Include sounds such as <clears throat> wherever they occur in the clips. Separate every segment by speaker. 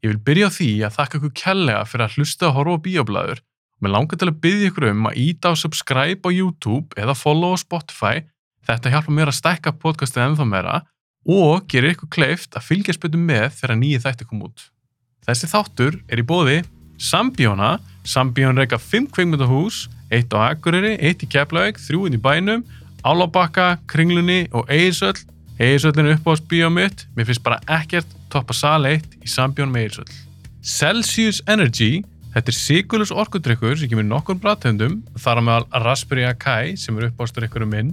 Speaker 1: Ég vil byrja á því að þakka ykkur kærlega fyrir að hlusta að horfa á bíoblæður og mér langar til að byrja ykkur um að íta á subscribe á YouTube eða follow á Spotify. Þetta hjálpa mér að stækka podcastið ennþá meira og gerir ykkur kleift að fylgjast betur með þegar nýju þætti kom út. Þessi þáttur er í bóði Sambíóna, Sambíón reyka 5 kveikmyndahús, 1 á Akureyri, 1 í Keflavík, 3 inn í bænum, Álabakka, Kringlunni og Eirsöll Egilsöllin er uppáðs bíómiðt, mér finnst bara ekkert toppa sal 1 í sambjón með Egilsöll. Celsius Energy, þetta er sigurljus orkudrykkur sem kemur nokkur bræðtöndum, þar á meðal Raspberry Akai sem er uppáðsdrykkurum minn.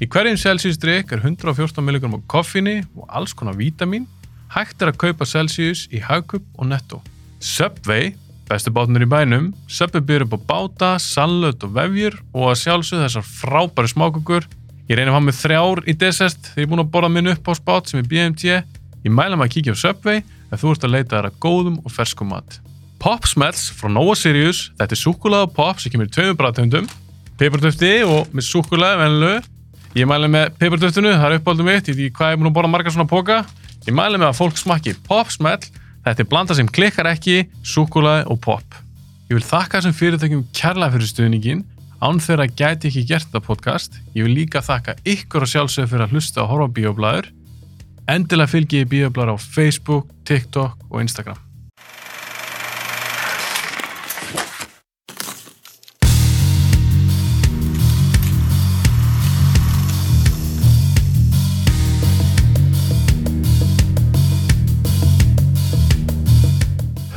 Speaker 1: Í hverjum Celsius drykk er 114 mg koffinni og alls konar vítamin. Hægt er að kaupa Celsius í Hagkup og Netto. Subway, bestu bátnur í bænum, Subway byrjur upp á báta, sallut og vefjur og að sjálfsög þessar frábæri smákukur Ég reynir að hafa með þrjár í desert þegar ég er búin að borða minn upp á spát sem er BMT. Ég mæla maður að kíkja á Subway ef þú ert að leita þær að góðum og ferskum mat. Pop Smells frá Nova Sirius. Þetta er súkkulaða pop sem kemur í tveimur bræðtöndum. Peppartöfti og með súkkulaði venlu. Ég mæla með peppartöftinu, það er uppáldum mitt. Ég veit ekki hvað ég er búin að borða margar svona póka. Ég mæla með að fólk smakki Pop Smell. Þetta er blanda sem klikkar ekki, súkkulaði og pop. Ég vil þakka þessum fyrirtækjum kærlega fyrir stuðningin. Án þeirra gæti ég ekki gert þetta podcast. Ég vil líka þakka ykkur og sjálfsögur fyrir að hlusta og horfa á bíoblæður. Endilega fylgi ég bíoblæður á Facebook, TikTok og Instagram.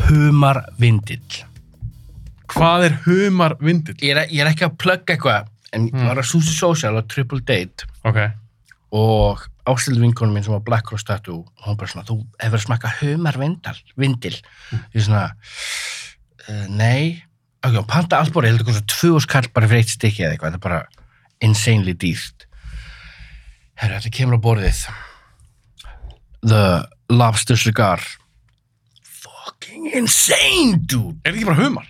Speaker 2: humar vindill
Speaker 1: Hvað er humar vindill?
Speaker 2: ég er, ég er ekki að plugga eitthvað en ég
Speaker 1: Mm.
Speaker 2: var að Susi Social á Triple Date
Speaker 1: Ok.
Speaker 2: og ástæðu vinkonum minn sem var Black Cross Tattoo og hún bara svona, þú hefur smakkað humar vindal, vindil ég svona, uh, nei ok, hún panta allt bóri, ég held að kosta tvö skall bara fyrir eitt stykki eða eitthvað, þetta er bara insanely dýrt herru, þetta kemur á borðið the lobster cigar fucking insane dude
Speaker 1: Er þetta ekki bara humar?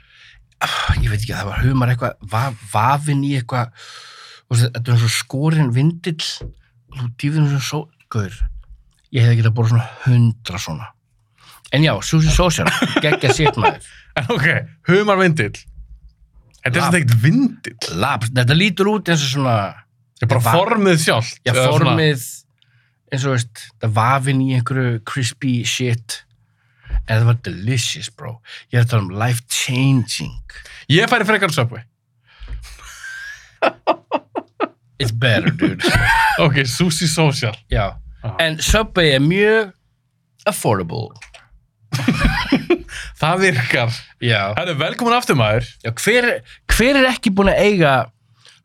Speaker 2: ég veit ekki, það var humar eitthvað va vafin í eitthvað og þessi- þetta er svo skorinn vindill og þú dýfðir þessu svo gaur ég hefði getað borð svona hundra svona en já, Susi Social geggja sitt maður
Speaker 1: En <laughs> ok, humar vindill. Þetta er
Speaker 2: Lab.
Speaker 1: þetta ekkert vindill.
Speaker 2: Labs, þetta lítur út eins og svona
Speaker 1: Þetta er bara
Speaker 2: Va-
Speaker 1: formið sjálft.
Speaker 2: já,
Speaker 1: eða svona-
Speaker 2: formið eins og veist, það vafin í einhverju crispy shit en það var delicious bro ég er að tala um life changing
Speaker 1: Ég færi frekar á Subway.
Speaker 2: it's better dude
Speaker 1: Ok, Sushi Social.
Speaker 2: já,
Speaker 1: <laughs> Já.
Speaker 2: en Subway er mjög affordable
Speaker 1: Það virkar.
Speaker 2: já
Speaker 1: Það er velkomin aftur maður.
Speaker 2: Já, hver, hver er ekki búin að eiga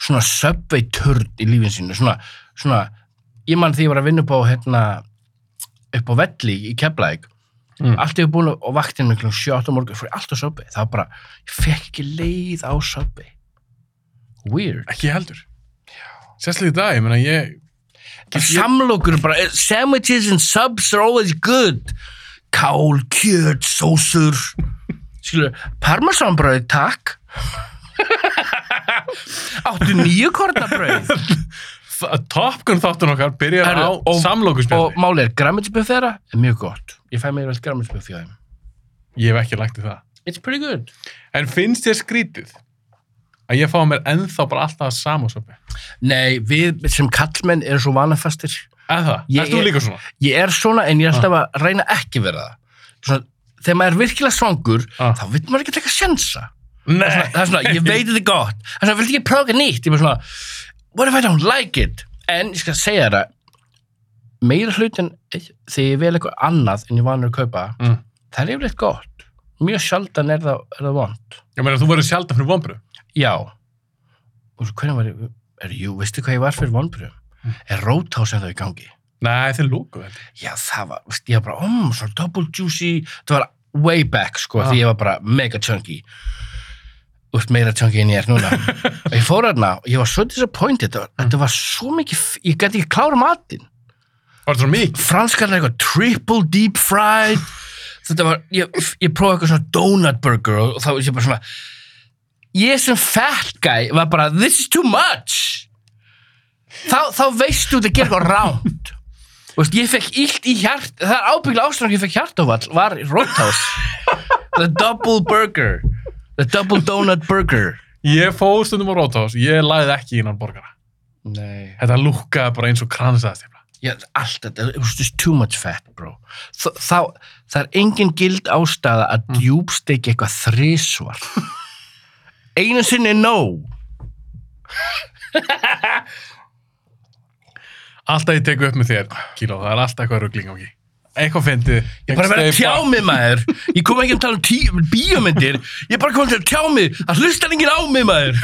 Speaker 2: svona subway törn í lífin sínu? Svona, svona, ég mann því ég var að vinna upp á, hérna, upp á Velli í Keflæk.
Speaker 1: Mm.
Speaker 2: Allt ég var búin að vaktin með klukkan 7 á morgun, fyrir allt á subway. Það var bara, ég fekk ekki leið á subway. Weird.
Speaker 1: Ekki heldur. Sérslega í dag, ég meina ég...
Speaker 2: Ég... Samlokur bara, eh, sandwiches and subs are always good. Kál, kjöt, sósur. Skilur, parmesanbröð, takk. <laughs> Áttu nýju kornabröð. <laughs>
Speaker 1: Þa- Top Gun þáttun okkar byrjar
Speaker 2: Herru,
Speaker 1: á
Speaker 2: og- Og
Speaker 1: samlokuspjalli.
Speaker 2: málið er, gramminsbuff þeirra er mjög gott. Ég fæ mér vel gramminsbuff hjá þeim.
Speaker 1: Ég hef ekki lagt í það.
Speaker 2: It's pretty good.
Speaker 1: En finnst ég skrítið að ég fá mér ennþá bara alltaf að samosöpi?
Speaker 2: Nei, við sem kallmenn erum svo vanafastir.
Speaker 1: Eða það?
Speaker 2: Ég-
Speaker 1: Erst þú
Speaker 2: ég-
Speaker 1: líka svona?
Speaker 2: Ég er svona en ég er alltaf að reyna ekki að vera það. Svona, þegar maður er virkilega svangur,
Speaker 1: Ah.
Speaker 2: þá vil maður ekki taka sjensa.
Speaker 1: Nei.
Speaker 2: Það er svona, ég veit þetta er gott. Það er svona, viltu ekki prófa eitthvað nýtt? Ég er bara svona, what if I don't like it? En ég skal segja þér að meira hlutin, þegar ég vel eitthvað annað en ég er vanur að kaupa,
Speaker 1: Mm.
Speaker 2: það er yfirleitt gott. Mjög sjaldan er það, er það vond.
Speaker 1: Ég meina, þú verður sjaldan fyrir vonbröð.
Speaker 2: Já. Og svo hvernig var ég, er, jú, veistu hvað ég var fyrir vonbröðum? Er Roadhouse en það í gangi?
Speaker 1: Nei, þeir lúku þetta.
Speaker 2: Já, það var, veist, ég var bara, um, svona double juicy, það var way back, sko,
Speaker 1: Ah.
Speaker 2: því ég var bara mega chunky. Þú veist, meira chunky en ég er núna. og ég fór hérna og ég var svo disappointed, þetta var, þetta var svo mikið, f- ég gæti ekki klára matinn.
Speaker 1: Var þetta svona mikið?
Speaker 2: Franskarna eitthvað triple deep fried, þetta var, ég, ég prófaði eitthvað svona donut burger og, og þá var ég bara svona, ég sem fat guy var bara, this is too much. Þá, þá veistu þú ert að gera eitthvað ránt. Þú veist, ég fekk illt í hjart, það er ábygglega ástæðan ég fekk hjartofall, var Roadhouse. The Double Burger. The Double Donut Burger.
Speaker 1: Ég fór stundum á Rótás, ég lagði ekki innan borgara.
Speaker 2: Nei.
Speaker 1: Þetta lúkkaði bara eins og kransastifla.
Speaker 2: Já, allt þetta, it was just too much fat, bro. Þá, þá það er engin gild ástæða að
Speaker 1: Mm.
Speaker 2: mm. djúbsteiki eitthvað þrísvar. Einu sinni er nóg.
Speaker 1: Alltaf ég teku upp með þér, Kíló, það er alltaf eitthvað ruggling á ekki. Eitthvað fyndið.
Speaker 2: Ég er bara að vera að tjá mig, maður. Ég kom ekki að tala um tí, bíómyndir. Ég er bara að koma til að tjá mig. Það hlustar enginn á mig, maður.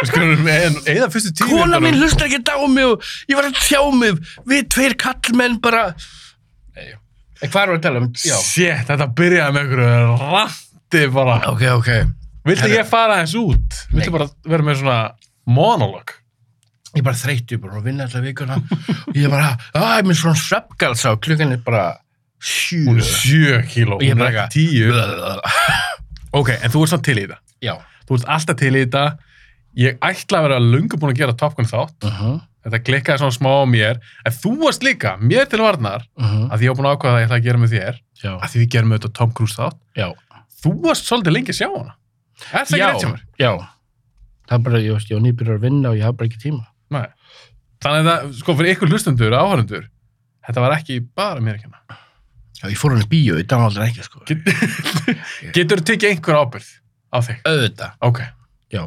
Speaker 1: Við skulum eða, eða fyrstu tíu
Speaker 2: Kona
Speaker 1: mínútunum-
Speaker 2: mín hlustar ekki á mig og ég var að tjá mig. Við tveir kallmenn bara... Nei. En Hvað erum við að tala um? Já.
Speaker 1: Shit, þetta byrjaði með einhverju randi bara.
Speaker 2: Ok, ok.
Speaker 1: Viltu
Speaker 2: Herra.
Speaker 1: ég fara eins út? Viltu
Speaker 2: Nei.
Speaker 1: bara vera með svona monolog?
Speaker 2: Ég er bara þreytti, bara að vinna alltaf vikuna. og ég er bara, að, ég er með svona sveppgalsá. Klukkan er bara sjö.
Speaker 1: Hún er 7 kíló,
Speaker 2: Ég er
Speaker 1: hún er
Speaker 2: bara
Speaker 1: ekki 10. Ok, en þú ert samt til í þetta.
Speaker 2: Já.
Speaker 1: Þú ert alltaf til í þetta. Ég ætla að vera lungu búin að gera Top Gun þátt.
Speaker 2: Uh -huh.
Speaker 1: Þetta klikkaði svona smá á mér. En þú varst líka, mér til varnar, að ég var búin að ákvaða að ég ætla að gera með þér.
Speaker 2: Já.
Speaker 1: Að því við gerum auðvitað Tom Cruise þátt.
Speaker 2: Já.
Speaker 1: Þú varst svolítið lengi að sjá hana. Er það ekki
Speaker 2: Já.
Speaker 1: rétt hjá mér?
Speaker 2: Já. Það er bara, ég veist, ég var nýbyrjar að vinna og ég hafði bara ekki tíma.
Speaker 1: Nei. Þannig að það, sko, fyrir ykkur hlustendur, áhörundur, þetta var ekki bara mér ekki hana.
Speaker 2: Já, ég fór hann í bíó, ég dánaldar ekki, sko.
Speaker 1: Get, getur þú tekið einhver ábyrð á þig?
Speaker 2: Auðvitað.
Speaker 1: Ok.
Speaker 2: Já.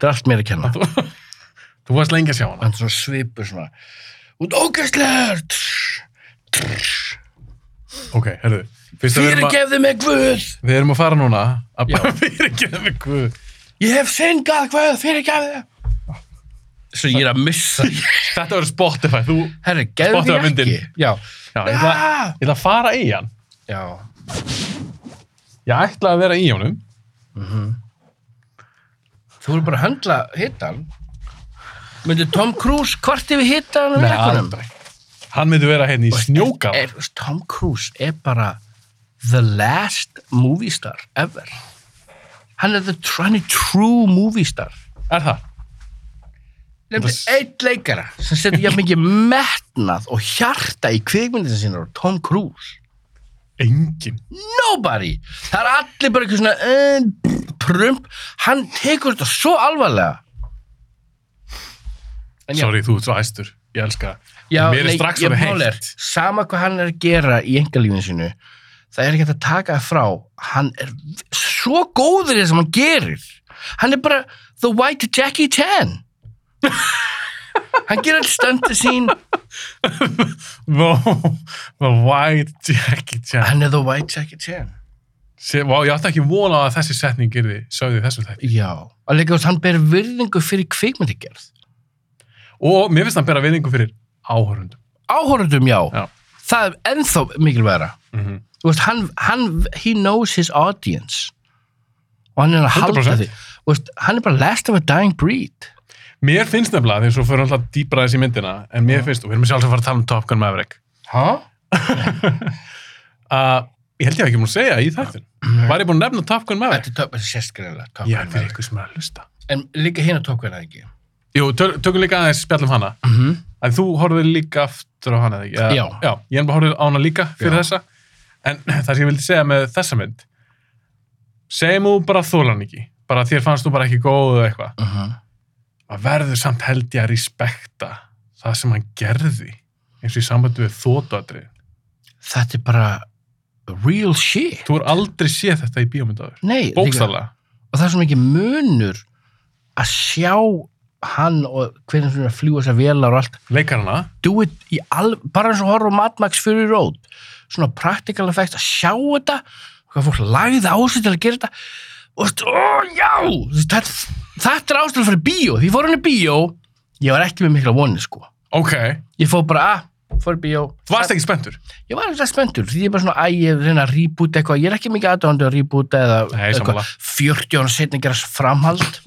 Speaker 2: Það er allt mér að kenna.
Speaker 1: Þú, þú varst lengi að sjá hana.
Speaker 2: hann svona svipur svona út ógæstlegar
Speaker 1: Ok, herðu. Fyrst að við erum að,
Speaker 2: fyrirgefðu mig Guð
Speaker 1: við erum að fara núna að
Speaker 2: Já.
Speaker 1: bara <laughs> fyrirgefa mig guð.
Speaker 2: ég hef syngað Guð, fyrirgefðu svo ég er að missa
Speaker 1: Þetta verður Spotify, þú,
Speaker 2: herri, gefðu
Speaker 1: Spottaðu
Speaker 2: því ekki
Speaker 1: myndin.
Speaker 2: já,
Speaker 1: já, ég ætla,
Speaker 2: Ah!
Speaker 1: ég ætla að fara í hann.
Speaker 2: já,
Speaker 1: Ég ætla að vera í honum.
Speaker 2: þú voru bara að höndla hittan myndi Tom Cruise hvart yfir hittan
Speaker 1: Nei, aldrei. Hann myndi vera hérna í snjókam.
Speaker 2: er, er, Tom Cruise er bara the last movie star ever hann er the tr- hann er true movie star
Speaker 1: Er það?
Speaker 2: Nefndi
Speaker 1: Þetta-
Speaker 2: eitt leikara sem setur jafn mikið metnað og hjarta í kvikmyndinu sínar og Tom Cruise.
Speaker 1: Engin.
Speaker 2: Nobody! Það er allir bara eitthvað svona uh, prump. Hann tekur þetta svo alvarlega. En já.
Speaker 1: Sorry, þú ert svo æstur. Ég elska það. Mér er
Speaker 2: nei,
Speaker 1: strax
Speaker 2: ég
Speaker 1: orðið
Speaker 2: mál er,
Speaker 1: heitt.
Speaker 2: Sama hvað hann er að gera í engalífinu sínu, það er ekki hægt að taka það frá. Hann er svo góður í það sem hann gerir. Hann er bara the white Jackie Chan. hann gerir alls stöndi sín
Speaker 1: No, the white Jackie Chan.
Speaker 2: Hann er the white jacket chan.
Speaker 1: Sér, vá, ég átti ekki vona að þessi setning gerði sögðu í þessum þætti.
Speaker 2: Já. Og líka þess að hann ber virðingu fyrir kvikmyndigerð.
Speaker 1: Og mér finnst hann bera viðningu fyrir áhörundum.
Speaker 2: Áhorundum, já.
Speaker 1: Já.
Speaker 2: Það er ennþá mikilværa.
Speaker 1: Mm
Speaker 2: Þú veist, hann, hann, he knows his audience. Og hann er að halda
Speaker 1: 100%.
Speaker 2: því. Þú veist, hann er bara last of a dying breed.
Speaker 1: Mér finnst nefnilega, því að svo fyrir alltaf dýpra þessi myndina, en mér finnst, og við erum sjálfsagt að fara að tala um Top Gun Maverick,
Speaker 2: Hæ?
Speaker 1: að ég held ég hafi ekki múin að segja í þættin. Var ég búin að nefna Top Gun Maverick?
Speaker 2: Þetta er top- þetta er sérskræðilega. Top
Speaker 1: Já, fyrir
Speaker 2: Gun Maverick.
Speaker 1: ykkur sem er að hlusta.
Speaker 2: En líka hinn að tók hann ekki.
Speaker 1: Jú, tö- tökum líka aðeins spjallum hana.
Speaker 2: Mm -hmm.
Speaker 1: En þú horfið líka aftur á hana, eða ekki? Eða-
Speaker 2: Já.
Speaker 1: Já, ég hef bara horfið á hana líka fyrir
Speaker 2: Já.
Speaker 1: þessa. En <clears throat> það sem ég vildi segja með þessa mynd, segjum þú bara þólan ekki, bara þér fannst þú bara ekki góð eða eitthvað.
Speaker 2: Uh -huh.
Speaker 1: að verður samt held ég að respekta það sem hann gerði eins og í sambandi við þótadrið.
Speaker 2: Þetta er bara real shit.
Speaker 1: Þú er aldrei séð þetta í bíómyndaður.
Speaker 2: Nei. líka-
Speaker 1: Bókstallega.
Speaker 2: og það er svo mikið munur að sjá hann og hvernig svona fljúa sér velar og allt
Speaker 1: Leikarana.
Speaker 2: do it í alveg, bara eins og horfa á Mad Max Fury Road svona practical effects að sjá þetta hvað fólk lagði á sig til að gera þetta og þú veist, ó já Þú veist, þetta, þetta er ástæðan fyrir bíó því ég fór hann í bíó, ég var ekki með mikla voni sko,
Speaker 1: Ok.
Speaker 2: ég fór bara að fór í bíó,
Speaker 1: Þú varst ekki spenntur.
Speaker 2: ég var eitthvað spenntur því ég er bara svona, æ, ég reyna að rýbúta eitthvað ég er ekki mikið aðdóðandi að rýbúta eða
Speaker 1: Nei,
Speaker 2: eitthvað,
Speaker 1: sammála.
Speaker 2: 40 ára setni gerast framhald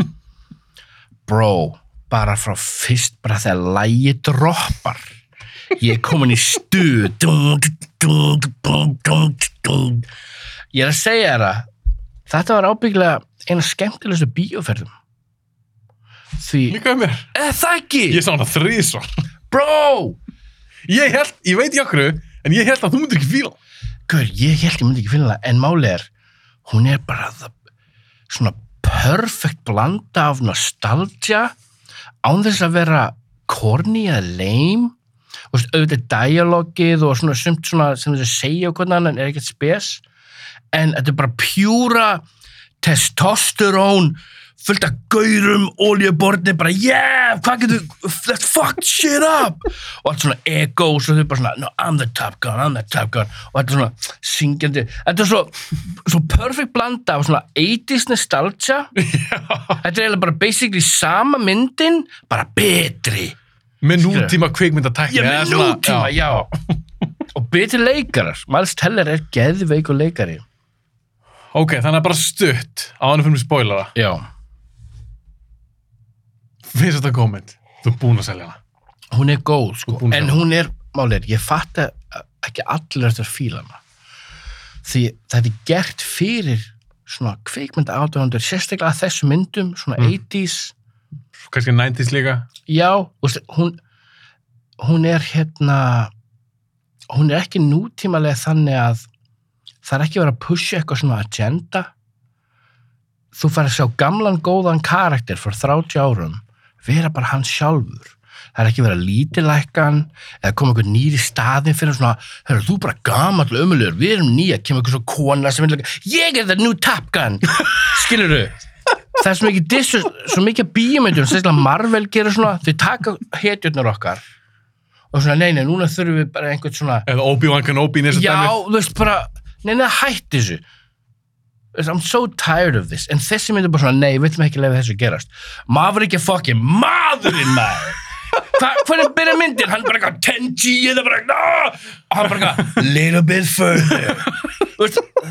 Speaker 2: bro, bara frá fyrst bara þegar lægi droppar ég er komin í stuð dung, dung, dung, dung, dung. ég er að segja þér að þetta var ábygglega eina skemmtilegustu bíóferðum því,
Speaker 1: Líka um mér.
Speaker 2: eða það ekki
Speaker 1: Ég sá hana þrísvar.
Speaker 2: Bro!
Speaker 1: Ég held, ég veit ekki okkur, en ég held að þú myndir ekki fíla. hann.
Speaker 2: Gaur, ég held ég myndi ekki finna það, en máli er, hún er bara það, svona perfect blanda af nostalgia, án þess að vera corny eða lame, og veist, auðvitað dialogið og svona sumt svona sem þau segja og hvernig annan er ekkert spes, en þetta er bara pjúra testosterón, fullt af gaurum, oljuborni, bara yeah, hvað getur, let's fuck shit up og allt svona ego og svo þau bara svona, no, I'm the top gun, I'm the top gun og þetta er svona syngjandi þetta er svo, svo perfect blanda af svona 80s nostalgia þetta er eiginlega bara basically sama myndin, bara betri
Speaker 1: Með nútíma kveikmyndatækni.
Speaker 2: ég
Speaker 1: eða
Speaker 2: með
Speaker 1: svona-
Speaker 2: nútíma,
Speaker 1: já.
Speaker 2: já og betri leikarar, Miles Teller er geðveik og leikari
Speaker 1: Ok, þannig að bara stutt á hann fyrir mig spoilera.
Speaker 2: já,
Speaker 1: Finnst þetta komment? Þú er búin að selja hana.
Speaker 2: hún er góð sko,
Speaker 1: Búin að
Speaker 2: en
Speaker 1: sjá.
Speaker 2: hún er málir, ég fatt ekki allir eftir fílana því þetta er gert fyrir svona kveikmynda átöfundur sérstaklega að þessu myndum, svona
Speaker 1: Mm.
Speaker 2: 80s
Speaker 1: Kanski 90s líka.
Speaker 2: Já, og sl- hún, hún er hérna, hún er ekki nútímalega þannig að það er ekki verið að pusha eitthvað svona agenda. Þú fær að sjá gamlan góðan karakter fyrir 30 árum, vera bara hann sjálfur. Það er ekki verið að lítilækka hann eða koma einhver nýr í staðin fyrir svona, hörru, þú er bara gamall ömulegur, við erum nýja, kemur einhver svo kona sem vilja, ég er það nú tapkan, skilur þau? það er svo mikið dissus, svo mikið bíomöndum, sérstaklega Marvel gerir svona, þau taka hetjurnar okkar og svona, nei, nei, núna þurfum við bara einhvern svona,
Speaker 1: Eða Obi-Wan Kenobi í þessu
Speaker 2: já,
Speaker 1: dæmi.
Speaker 2: þú veist, bara, nei, nei, hætti þessu. Þú veist, I'm so tired of this. En þessi myndir bara svona, nei, við viljum ekki lefa þessu gerast. Maður ekki fucking maðurinn, maður! Hva, hvernig byrja myndir? Hann bara eitthvað, Tenji, eða bara, no! Og hann bara eitthvað, little bit further. Þú veist,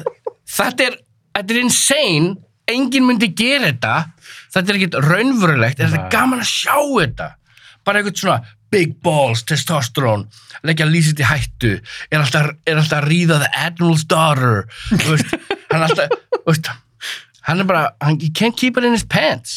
Speaker 2: þetta er, þetta er insane. Engin myndi gera þetta. Þetta er ekkert raunverulegt. Er þetta
Speaker 1: Nei.
Speaker 2: gaman að sjá þetta? Bara eitthvað svona, big balls, testosterone, leggja lýsit í hættu, er alltaf, er alltaf að ríða the admiral's daughter. Þú veist, hann er alltaf, þú veist, hann er bara, hann, he can't keep it in his pants.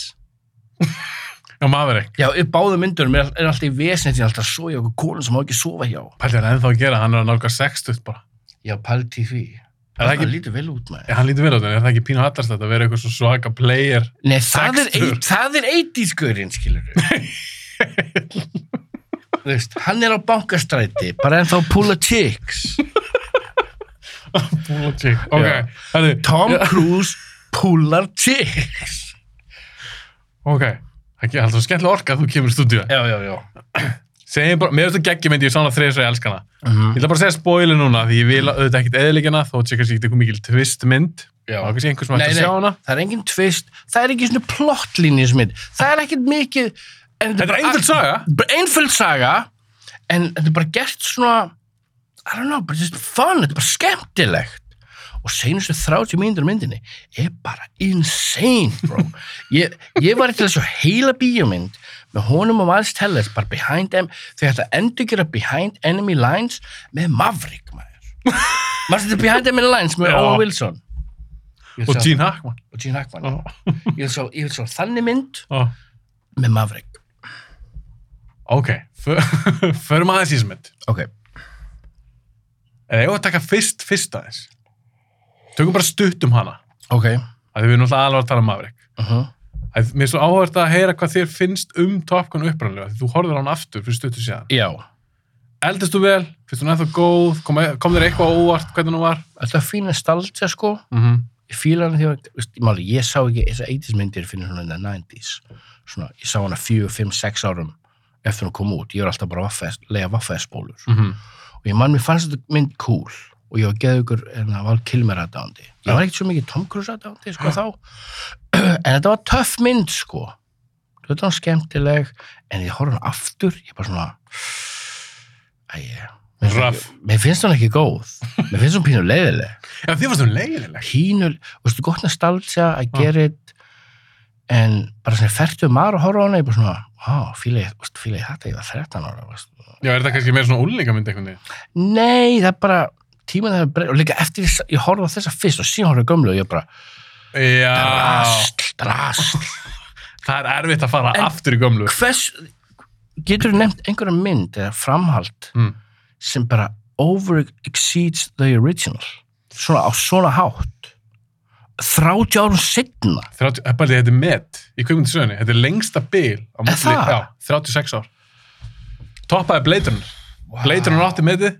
Speaker 1: Já, maður ekki.
Speaker 2: Já, í báðu myndunum er, er alltaf í vesnið því alltaf að soja okkur konum sem má ekki sofa hjá.
Speaker 1: Pæli hann er ennþá að gera, hann er að nálga 60 bara.
Speaker 2: Já, pælti í því.
Speaker 1: Er það
Speaker 2: Það
Speaker 1: ekki-
Speaker 2: lítur vel út með.
Speaker 1: Já, hann lítur vel á þetta, er það ekki pínu hallast að vera eitthvað svo svaka player?
Speaker 2: Nei, það er,
Speaker 1: Sextur.
Speaker 2: eitt- það er eitískurinn, skilur <laughs> við. Þú veist, hann er á bankastræti, bara ennþá púla chicks.
Speaker 1: Búlóti. Ok,
Speaker 2: Já.
Speaker 1: herri,
Speaker 2: Tom Cruise púlar chicks.
Speaker 1: ok. Það er alltaf skemmtilega orka að þú kemur í stúdíu.
Speaker 2: Já, já, já.
Speaker 1: Segjum bara, mér finnst þetta geggjum myndi, ég sána þrið svo ég elska hana.
Speaker 2: Mhm.
Speaker 1: Ég ætla bara að segja spoiler núna, því ég vil auðvitað ekkit eðilegjana, þó sé kannski ekki eitthvað mikil twist mynd.
Speaker 2: Já.
Speaker 1: Það er kannski einhver sem
Speaker 2: Nei,
Speaker 1: ætti að
Speaker 2: nei,
Speaker 1: sjá hana.
Speaker 2: það er engin tvist, það er ekki svona plottlínjismið, það er ekkit mikið... en
Speaker 1: Þetta er
Speaker 2: bara-
Speaker 1: einföld saga.
Speaker 2: bara einföld saga en þetta er bara gert svona I don't know, bara just fun, þetta er bara skemmtilegt og seinustu 30 mínútur af myndinni er bara insane
Speaker 1: <laughs>
Speaker 2: bro, ég, ég var til þessu heila bíómynd með honum og Miles Teller, bara behind them þau hægt að endurgera behind enemy lines með Maverick maður
Speaker 1: <laughs>
Speaker 2: maður þetta behind enemy lines með
Speaker 1: Já.
Speaker 2: Owen Wilson Ég vil
Speaker 1: Og
Speaker 2: sjá-
Speaker 1: Gene Hackman.
Speaker 2: og Gene Hackman
Speaker 1: Ó,
Speaker 2: ég vil sjá, ég vil sjá þannig mynd
Speaker 1: ó.
Speaker 2: með Maverick
Speaker 1: Ok, Fö- <laughs> förum aðeins í þessu mynd.
Speaker 2: ok,
Speaker 1: Eða ég var að taka fyrst, fyrst aðeins. Tökum bara stutt um hana.
Speaker 2: ok
Speaker 1: Af því við erum náttúrulega alveg að tala um Maverick.
Speaker 2: uh -huh.
Speaker 1: Það er- Mér er svo áhverð að heyra hvað þér finnst um Top Gun upprannlega, því þú horfður á hann aftur fyrir stuttu síðan.
Speaker 2: já,
Speaker 1: Eldist þú vel? Finnst hún ennþá góð? Kom, kom þér eitthvað á óvart hvernig hún var?
Speaker 2: þetta er fína staldja sko
Speaker 1: Mm -hmm.
Speaker 2: ég fíla hana þegar, veist, ég máli, ég sá ekki þessar 80s myndir fyrir svona in the 90s svona, ég sá hana 4, 5, 6 árum eftir hún kom út, ég var alltaf bara að vaffa- leiða vaffaðspólur
Speaker 1: Mm -hmm.
Speaker 2: og ég man, mér fannst þetta mynd cool og ég var geðið ykkur en það var Kilmer aðdándi ég var ekkert svo mikið Tom Cruise aðdándi sko þá <clears throat> en þetta var töff mynd sko þetta var skemmtileg en ég horf hann aftur, ég bara svona æja mér finnst-
Speaker 1: Raff.
Speaker 2: mér finnst hann ekki góð mér finnst hann pínu leiðileg
Speaker 1: Já, þið varst hún leiðileg.
Speaker 2: pínul, veistu, gott nostalgia að gera it en bara svona færtu maður að horfa á hana ég bara svona, á, fíla ég, veistu, fíla ég þetta ég var 13 ára, veistu
Speaker 1: Já, er þetta kannski meira svona úlingamynd einhvern veginn?
Speaker 2: nei, það er bara, tímað það er breyð og líka eftir ég, ég horfa á þessa fyrst og síðan horfa á gömlu og ég bara,
Speaker 1: Já,
Speaker 2: drasl, drasl
Speaker 1: það er erfitt að fara
Speaker 2: En-
Speaker 1: aftur í gömlu.
Speaker 2: hvers, getur þú nefnt einhverja mynd eða framhald
Speaker 1: Mm.
Speaker 2: sem bara over exceeds the original svona á svona hátt 30 árum setna
Speaker 1: 30, eh, bæði, þetta er met í kvikmyndisöðunni, þetta er lengsta bil á milli,
Speaker 2: það?
Speaker 1: já, 36 ár toppaði Blade Runner Blade Runner átti metið
Speaker 2: það,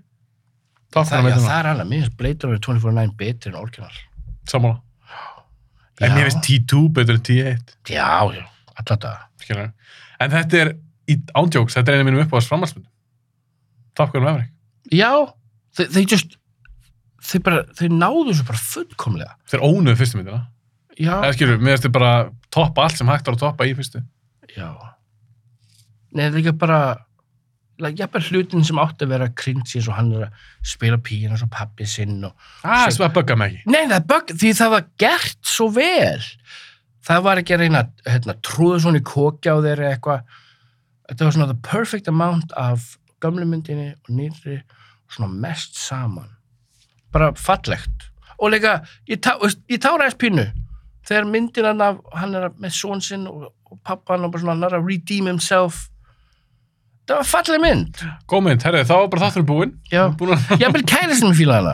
Speaker 1: toppaði
Speaker 2: já,
Speaker 1: metið
Speaker 2: það er alveg, mér finnst Blade Runner 24-9 betri en orginal
Speaker 1: sammála, en mér finnst T2 betur en T1
Speaker 2: Já, já, alltaf það.
Speaker 1: skilur. en þetta er í ándjóks, þetta er einu mínum uppáðast framhaldsmynd Top Gun Maverick
Speaker 2: Já, þe- þeir just, þeir bara, þeir náðu þessu bara fullkomlega.
Speaker 1: þeir ónuðu fyrstu myndina
Speaker 2: Já,
Speaker 1: eða skilur, mér finnst þið bara toppa allt sem hægt var að toppa í fyrstu
Speaker 2: já. Nei, það er líka bara, like, jafnveg hlutin sem átti að vera cringe eins og hann er að spila píina svo pappi sinn og...
Speaker 1: ah, sem að bugga mig ekki
Speaker 2: Nei, það er bögg, því það var gert svo vel. Það var ekki að reyna að hérna, trúða svona í kokja á þeirra eitthvað. Þetta var svona the perfect amount af gömlu myndinni og nýrri og svona mest saman. Bara fallegt. Og líka, ég, tá, veist, ég tára þess pínu. Þegar myndin hann af, hann er með són sinn og, og pappan og bara svona hann er að redeem himself. Það var falleg mynd.
Speaker 1: góð mynd, herrið, þá var bara þátturinn búinn
Speaker 2: Já.
Speaker 1: búin að...
Speaker 2: Ég vil kæra sem fíla hana.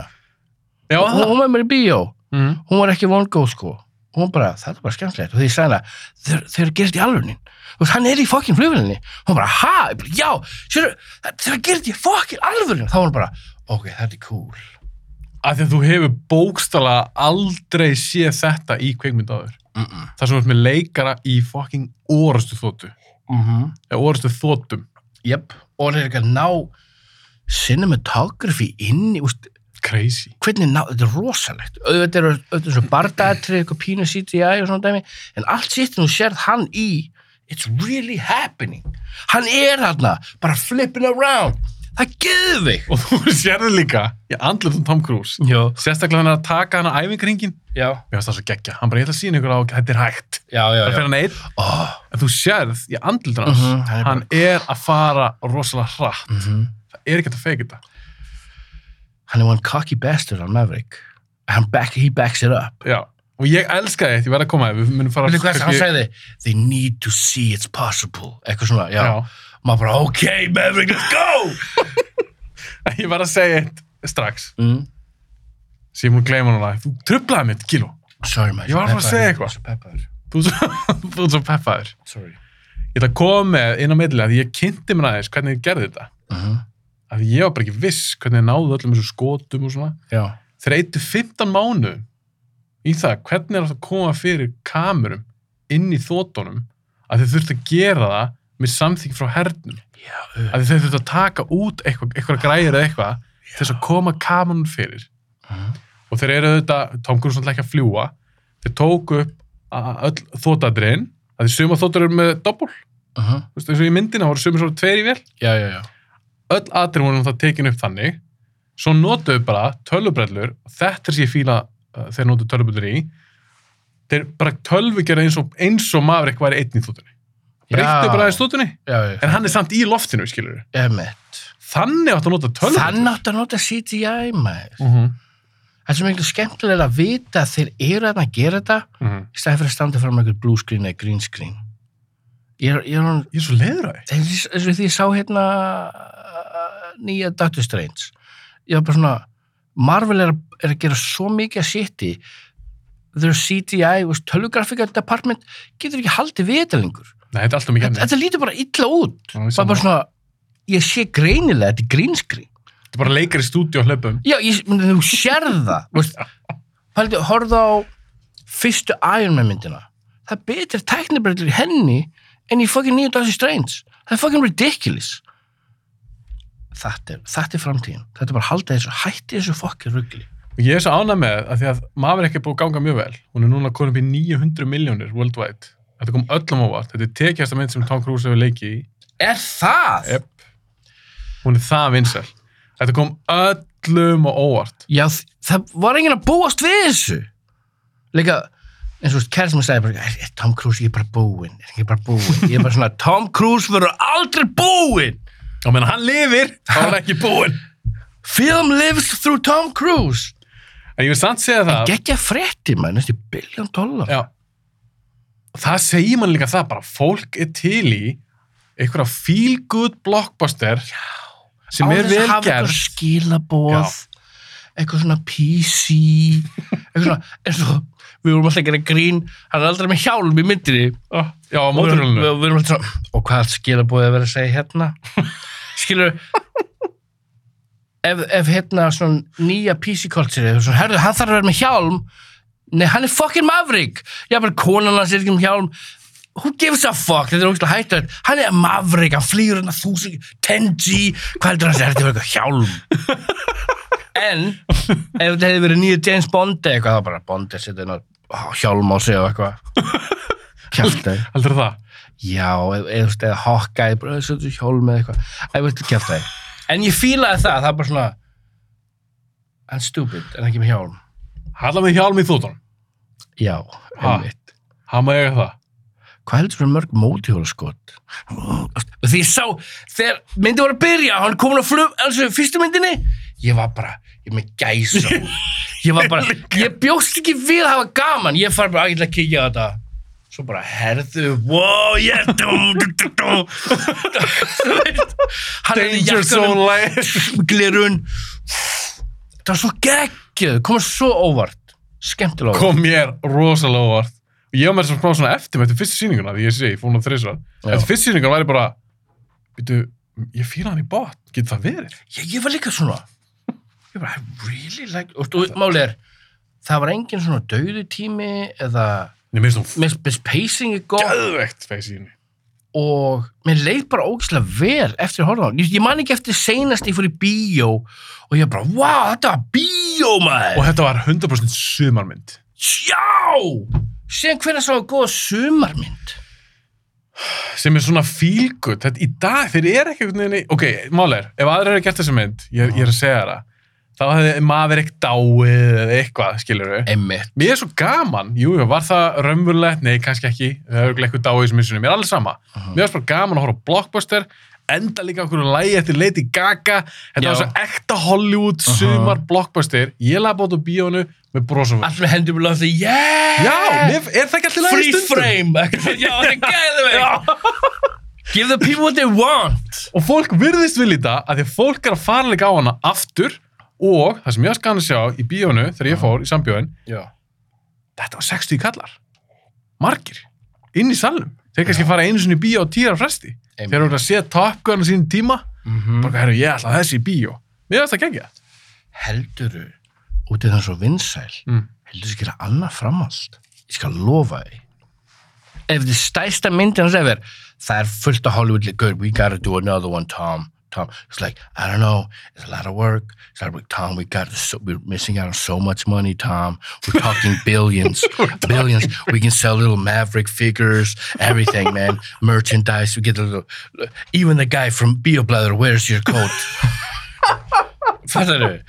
Speaker 1: já,
Speaker 2: Hún,
Speaker 1: það
Speaker 2: hún var með mér í bíó.
Speaker 1: mm.
Speaker 2: hún var ekki vongóð sko hún bara, þetta er bara skemmtilegt og því ég sagði hana, þeir, þeir eru gerðið í alvörnin þú veist, hann er í fokkin flugvölinni hún bara, ha, ég bara, já, sérðu þeir eru gerðið í fokkin alvörnin þá var hún bara, ok, þetta er cool
Speaker 1: að því að þú hefur bókstala aldrei séð þetta í kveikmynd áður
Speaker 2: mm -mm.
Speaker 1: það sem þú ert með leikara í fucking orustu þóttu
Speaker 2: Mm -hmm.
Speaker 1: eða orustu þóttum
Speaker 2: jöp, og þeir eru ekki að ná cinematography inn í, úst,
Speaker 1: crazy
Speaker 2: hvernig ná, þetta er rosalegt auðvitað eru auðvitað svo bardaðatri eitthvað pínu CGI og svona dæmi en allt sitt nú sérð hann í it's really happening hann er þarna, bara flipping around það geður þig
Speaker 1: og þú <laughs> sérðu líka í andlutum Tom Cruise
Speaker 2: já,
Speaker 1: sérstaklega hann er að taka hann á æfingaringin
Speaker 2: já,
Speaker 1: mér finnst það svo geggja, hann bara ég ætla að sína ykkur á þetta er hægt
Speaker 2: já, já,
Speaker 1: það
Speaker 2: já.
Speaker 1: fyrir hann einn,
Speaker 2: Oh,
Speaker 1: en þú sérð í andlutum hans
Speaker 2: Mhm, hann er bara-
Speaker 1: hann er að fara rosalega hratt
Speaker 2: mm
Speaker 1: það er ekki hægt að feika þetta
Speaker 2: hann er one cocky bastard on Maverick hann back, he backs it up
Speaker 1: já. og ég elska þetta, ég verð að koma að við munum fara
Speaker 2: Veitu hvað hann
Speaker 1: kannski-
Speaker 2: sagði? They need to see it's possible eitthvað svona, já,
Speaker 1: Já. <laughs>
Speaker 2: maður bara, ok, Maverick, let's go
Speaker 1: ég verð að segja þetta strax
Speaker 2: mm.
Speaker 1: sem hún gleyma núna, þú trublaði mitt kíló
Speaker 2: sorry, maður
Speaker 1: Ég var að fara að segja eitthvað.
Speaker 2: Svo peppaður.
Speaker 1: þú ert svo, <laughs> þú ert svo peppaður
Speaker 2: sorry
Speaker 1: ég ætla að koma með inn á millilega því ég kynnti mér aðeins hvernig ég gerði þetta
Speaker 2: Mhm.
Speaker 1: af því ég var bara ekki viss hvernig ég náði öllum þessu skotum og svona
Speaker 2: Já.
Speaker 1: þeir eittu 15 mánu í það hvernig er hægt að koma fyrir kamerum inn í þótunum að þeir þurftu að gera það með samþygg frá hernum
Speaker 2: Já,
Speaker 1: að þeir þurftu að taka út eitthvað, eitthvað græðir eða eitthvað til þess að koma kamerun fyrir
Speaker 2: Uh-huh,
Speaker 1: og þeir eru auðvitað, Tom Cruise náttúrulega ekki að fljúa þeir tóku upp a- öll þótadrein að því suma þóttur eru með doppul þú veist, eins og í myndina voru sumir svona tveir í vel
Speaker 2: uh-huh. já, já, já.
Speaker 1: öll atriðin voru náttúrulega tekin upp þannig svo notuðu bara tölvubrellur og þetta er sem ég fíla uh, þegar notuðu tölvubrellur í þeir bara tölvu gera eins og, eins og maður eitthvað er einn í þóttunni breyttu bara aðeins þóttunni
Speaker 2: Já, já,
Speaker 1: en hann er samt í loftinu, skilur
Speaker 2: emitt.
Speaker 1: þannig áttu að nota tölvubrellur
Speaker 2: Þann átt að nota CGI, maður.
Speaker 1: mm -hmm.
Speaker 2: Það er svo miklu skemmtilega að vita að þeir eru að gera þetta í staði fyrir að standa fram með eitthvað blue screen eða green screen. Ég er, ég er hann,
Speaker 1: ég er svo leiður á því
Speaker 2: eins eins og því ég sá hérna uh, nýja Doctor Strange. Ég var bara svona, Marvel er, að- er að gera svo mikið að sýtti their CGI, veist, tölvugrafika department getur ekki haldið við þetta lengur.
Speaker 1: Nei, þetta er alltaf mikið
Speaker 2: Þetta, þetta lítur bara illa út.
Speaker 1: þetta
Speaker 2: var bara svona, ég sé greinilega þetta er grínskrín.
Speaker 1: þetta er bara leikar í stúdíu og hlöpum
Speaker 2: Já, ég, menn, þú sérð það, þú veist, pældi, horfðu á fyrstu Iron Man myndina. Það er betri tæknibreytur í henni en í fucking nýju Doctor Strange. Það er fucking ridiculous. Þetta er, þetta er framtíðin. Þetta er bara að halda þessu, hætti þessu fucking ruggli.
Speaker 1: og ég er svo ánað með að því að maður ekki er búið að ganga mjög vel hún er núna konum í 900 miljónir worldwide þetta kom öllum ávart, þetta er tekjasta mynd sem Tom Cruise hefur leikið í
Speaker 2: Er það?
Speaker 1: Yep. hún er það vinsæl þetta kom öllum á óvart
Speaker 2: Já, þ- það var enginn að búast við þessu. Líka, eins og kærst mér sagði bara, er, er Tom Cruise, ég er bara búinn, er ekki bara búinn. Ég er bara svona, Tom Cruise verður aldrei búinn.
Speaker 1: og meðan hann lifir, þá er hann ekki búinn
Speaker 2: Film lives through Tom Cruise.
Speaker 1: en ég vil samt segja það
Speaker 2: Gekki að frétti, maður, næstu biljón dólar.
Speaker 1: já, það segir mann líka það bara fólk er til í einhverja feel good blockbuster já. sem er vel
Speaker 2: eitthvað
Speaker 1: gerð
Speaker 2: skilabóð, eitthvað svona PC,
Speaker 1: <laughs>
Speaker 2: eitthvað svona, eins og við vorum alltaf að gera grín, hann er aldrei með hjálm í myndinni.
Speaker 1: Ah, Já, á
Speaker 2: Og við-
Speaker 1: móturhjólinu
Speaker 2: Við, við erum alltaf svona, og hvað skilabóð er verið að segja hérna? Skilur, ef, ef hérna svona nýja PC-kultúri, svona, herðu, hann þarf að vera með hjálm, nei, hann er fucking maverick, já, bara konan hans er ekki með hjálm, who gives a fuck, þetta er ógæslega hættuð, hann er maverick, hann flýgur hérna þúsund, 10G, hvað heldur hann sér, þetta er eitthvað hjálm. En, ef þetta hefði verið nýju James Bond eða eitthvað, þá bara Bond er sittin og ó, hjálm á sig og eitthvað. Kjæftæði.
Speaker 1: Heldur það?
Speaker 2: Já, eða, eða, eða hokkaði, bara þessu þessu hjálm eða eitthvað. Ég veit ekki eftir það. En ég fílaði það, það er bara svona, hann er stupid, en ekki með hjálm.
Speaker 1: Halla með hjálm í þúton
Speaker 2: Já,
Speaker 1: Ha.
Speaker 2: einmitt.
Speaker 1: Hama eiga það
Speaker 2: Hvað heldur fyrir mörg mótihjólaskot? Því ég sá, þegar myndi var að byrja, hann komin á flug, alls við fyrstu myndinni, ég var bara, ég er með gæs
Speaker 1: <laughs>
Speaker 2: og, ég var bara, ég bjóst ekki við að hafa gaman, ég far bara að að kíkja á þetta. Svo bara, herðu, wow, yeah, dum, dum, dum, dum. <laughs> Þú veist, hann hefði
Speaker 1: Danger
Speaker 2: jakkanum-
Speaker 1: Zone life
Speaker 2: <laughs> glirun það var svo geggjöð komið svo óvart skemmtilega óvart
Speaker 1: kom mér rosalega óvart og ég var með þess að svona eftir með þetta fyrstu sýninguna því ég sé, ég fór hún á þrísvar
Speaker 2: Já.
Speaker 1: eftir fyrstu sýninguna væri bara veitu, ég fýla hann í bot, getur það verið?
Speaker 2: ég, ég var líka svona ég bara, I really like og þú- málið er, það var engin svona dauðu tími eða
Speaker 1: Nei, mér finnst hún
Speaker 2: mér finnst pacing er góð
Speaker 1: gæðvegt feis í henni
Speaker 2: og mér leið bara ógislega vel eftir að horfa á hann ég, ég man ekki eftir seinast ég fór í bíó og ég bara, wow, þetta var bíó maður
Speaker 1: og þetta var 100% sumarmynd
Speaker 2: já síðan hvernig svo góða sumarmynd
Speaker 1: sem er svona fílgut, þetta í dag þeir eru ekki einhvern veginn, í- ok, mál er ef aðrir eru gert þessa mynd, ég, ég er að segja það þá hefði maður ekki dáið eða eitthvað, skilur við
Speaker 2: einmitt,
Speaker 1: Mér er svo gaman, jú, jú, var það raunverulegt? Nei, kannski ekki, það er eitthvað dáið sem minnsunum, mér er allir sama. Mér var svo gaman að horfa á blockbuster, enda líka okkur að lægi eftir Lady Gaga, þetta
Speaker 2: Já.
Speaker 1: var svo ekta Hollywood,
Speaker 2: Aha.
Speaker 1: sumar blockbuster, ég laði bótt á bíónu með brosum.
Speaker 2: allt með hendur búin að það, yeah
Speaker 1: Já, mér, er það ekki allir lagi
Speaker 2: free
Speaker 1: stundum?
Speaker 2: frame <laughs> eitthvað, já þetta er gæðveikt give the people what they want
Speaker 1: Og fólk virðist vil í þetta að því að fólk er að fara líka á hana aftur og það sem ég var skan að sjá í bíónu þegar ég fór í sambjóðin,
Speaker 2: já.
Speaker 1: þetta var 60 kallar. Margir. Inn í salnum. Þeir kannski fara einu sinni í bíó á tíra fresti.
Speaker 2: Einmitt.
Speaker 1: Þeir eru að sé Top Gun á sínum tíma.
Speaker 2: Mm -hmm.
Speaker 1: Bara, herru, ég ætla að þessi í bíó. Mér finnst það gengja.
Speaker 2: helduru út í þann er svo vinsæl
Speaker 1: Mm.
Speaker 2: helduru skilja annað framhald ég skal lofa því ef þið stæsta myndin hans efer það er fullt af Hollywood like, good, we gotta do another one Tom Tom, it's like, I don't know, it's a lot of work. It's like, Tom, we got so, we're missing out on so much money, Tom. We're <laughs> talking billions, billions. We can sell little Maverick figures, everything, <laughs> man. Merchandise, we get a little, even the guy from BioBlather, where's your <laughs> coat? Fattar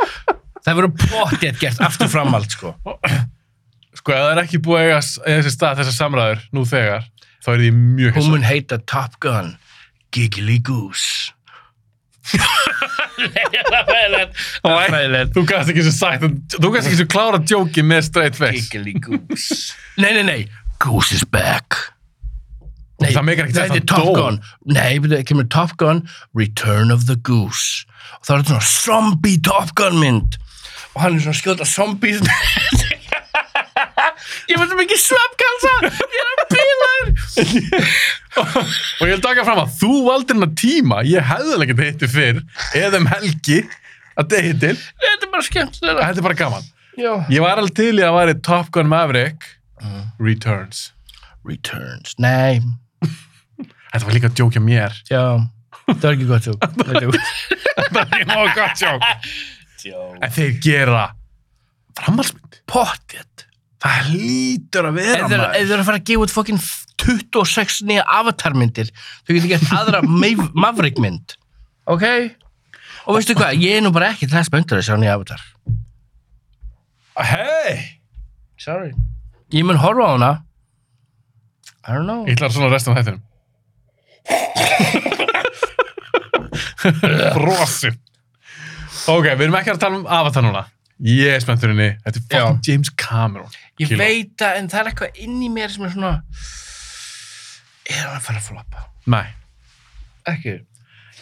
Speaker 2: Það verður pottið gert aftur framhald, sko.
Speaker 1: Sko, ef það er ekki búið að eiga s- eiga þessi stað, þessar samræður, nú þegar, þá er því mjög
Speaker 2: Hún
Speaker 1: hins.
Speaker 2: mun heita Top Gun Giggly Goose. <laughs> Það var fræðilegt.
Speaker 1: Þú gæst ekki sem sagt, þú gæst ekki sem klára djóki með straight face.
Speaker 2: Giggly Goose. Nei, nei, nei. Goose is back.
Speaker 1: Það meikar ekkert
Speaker 2: nei,
Speaker 1: sens,
Speaker 2: þetta er
Speaker 1: hann
Speaker 2: Top
Speaker 1: dó.
Speaker 2: Gun. Nei, það kemur Top Gun Return of the Goose. Og það er þetta svona zombie Top Gun mynd. Og hann er svona að skjóta zombies. <laughs> ég veit um ekki sveppkansa. Ég er að bílaður.
Speaker 1: Og ég vil taka fram að þú valdir hennar tíma, ég hefði alveg getið hittir fyrr, eða um helgi, að þetta hittir.
Speaker 2: Þetta er bara skemmtilega.
Speaker 1: Þetta er bara gaman.
Speaker 2: Já.
Speaker 1: Ég var alveg til í að væri Top Gun Maverick Mm. Returns.
Speaker 2: Returns. Nei,
Speaker 1: Þetta var líka að djókja mér.
Speaker 2: já, það er ekki gott tjók.
Speaker 1: <laughs>
Speaker 2: Það er gott.
Speaker 1: Þetta er nóg gott sjók.
Speaker 2: Tjók.
Speaker 1: En þeir gera framhaldsmynd.
Speaker 2: Pottjett.
Speaker 1: Það hlýtur að vera
Speaker 2: Ef þeir ef þeir eru að fara að gefa út fokkin 26 nýja avatarmyndir, þau getur gert
Speaker 1: <laughs>
Speaker 2: aðra Mav- Maverick-mynd. Ok? Og veistu hvað, ég er nú bara ekki til þess böndur að sjá nýja avatar.
Speaker 1: Hei!
Speaker 2: Sorry. Ég mun horfa á hana. I don't know.
Speaker 1: Ég ætlar svona restum af þettinum. Brosir. Ok, við erum ekki að tala um Avatar núna. Ég er spenntur henni. Þetta er fucking James Cameron.
Speaker 2: Ég
Speaker 1: Kíló.
Speaker 2: veit að, en það er eitthvað inn í mér sem er svona, er hann að fara að floppa?
Speaker 1: Nei.
Speaker 2: Ekki.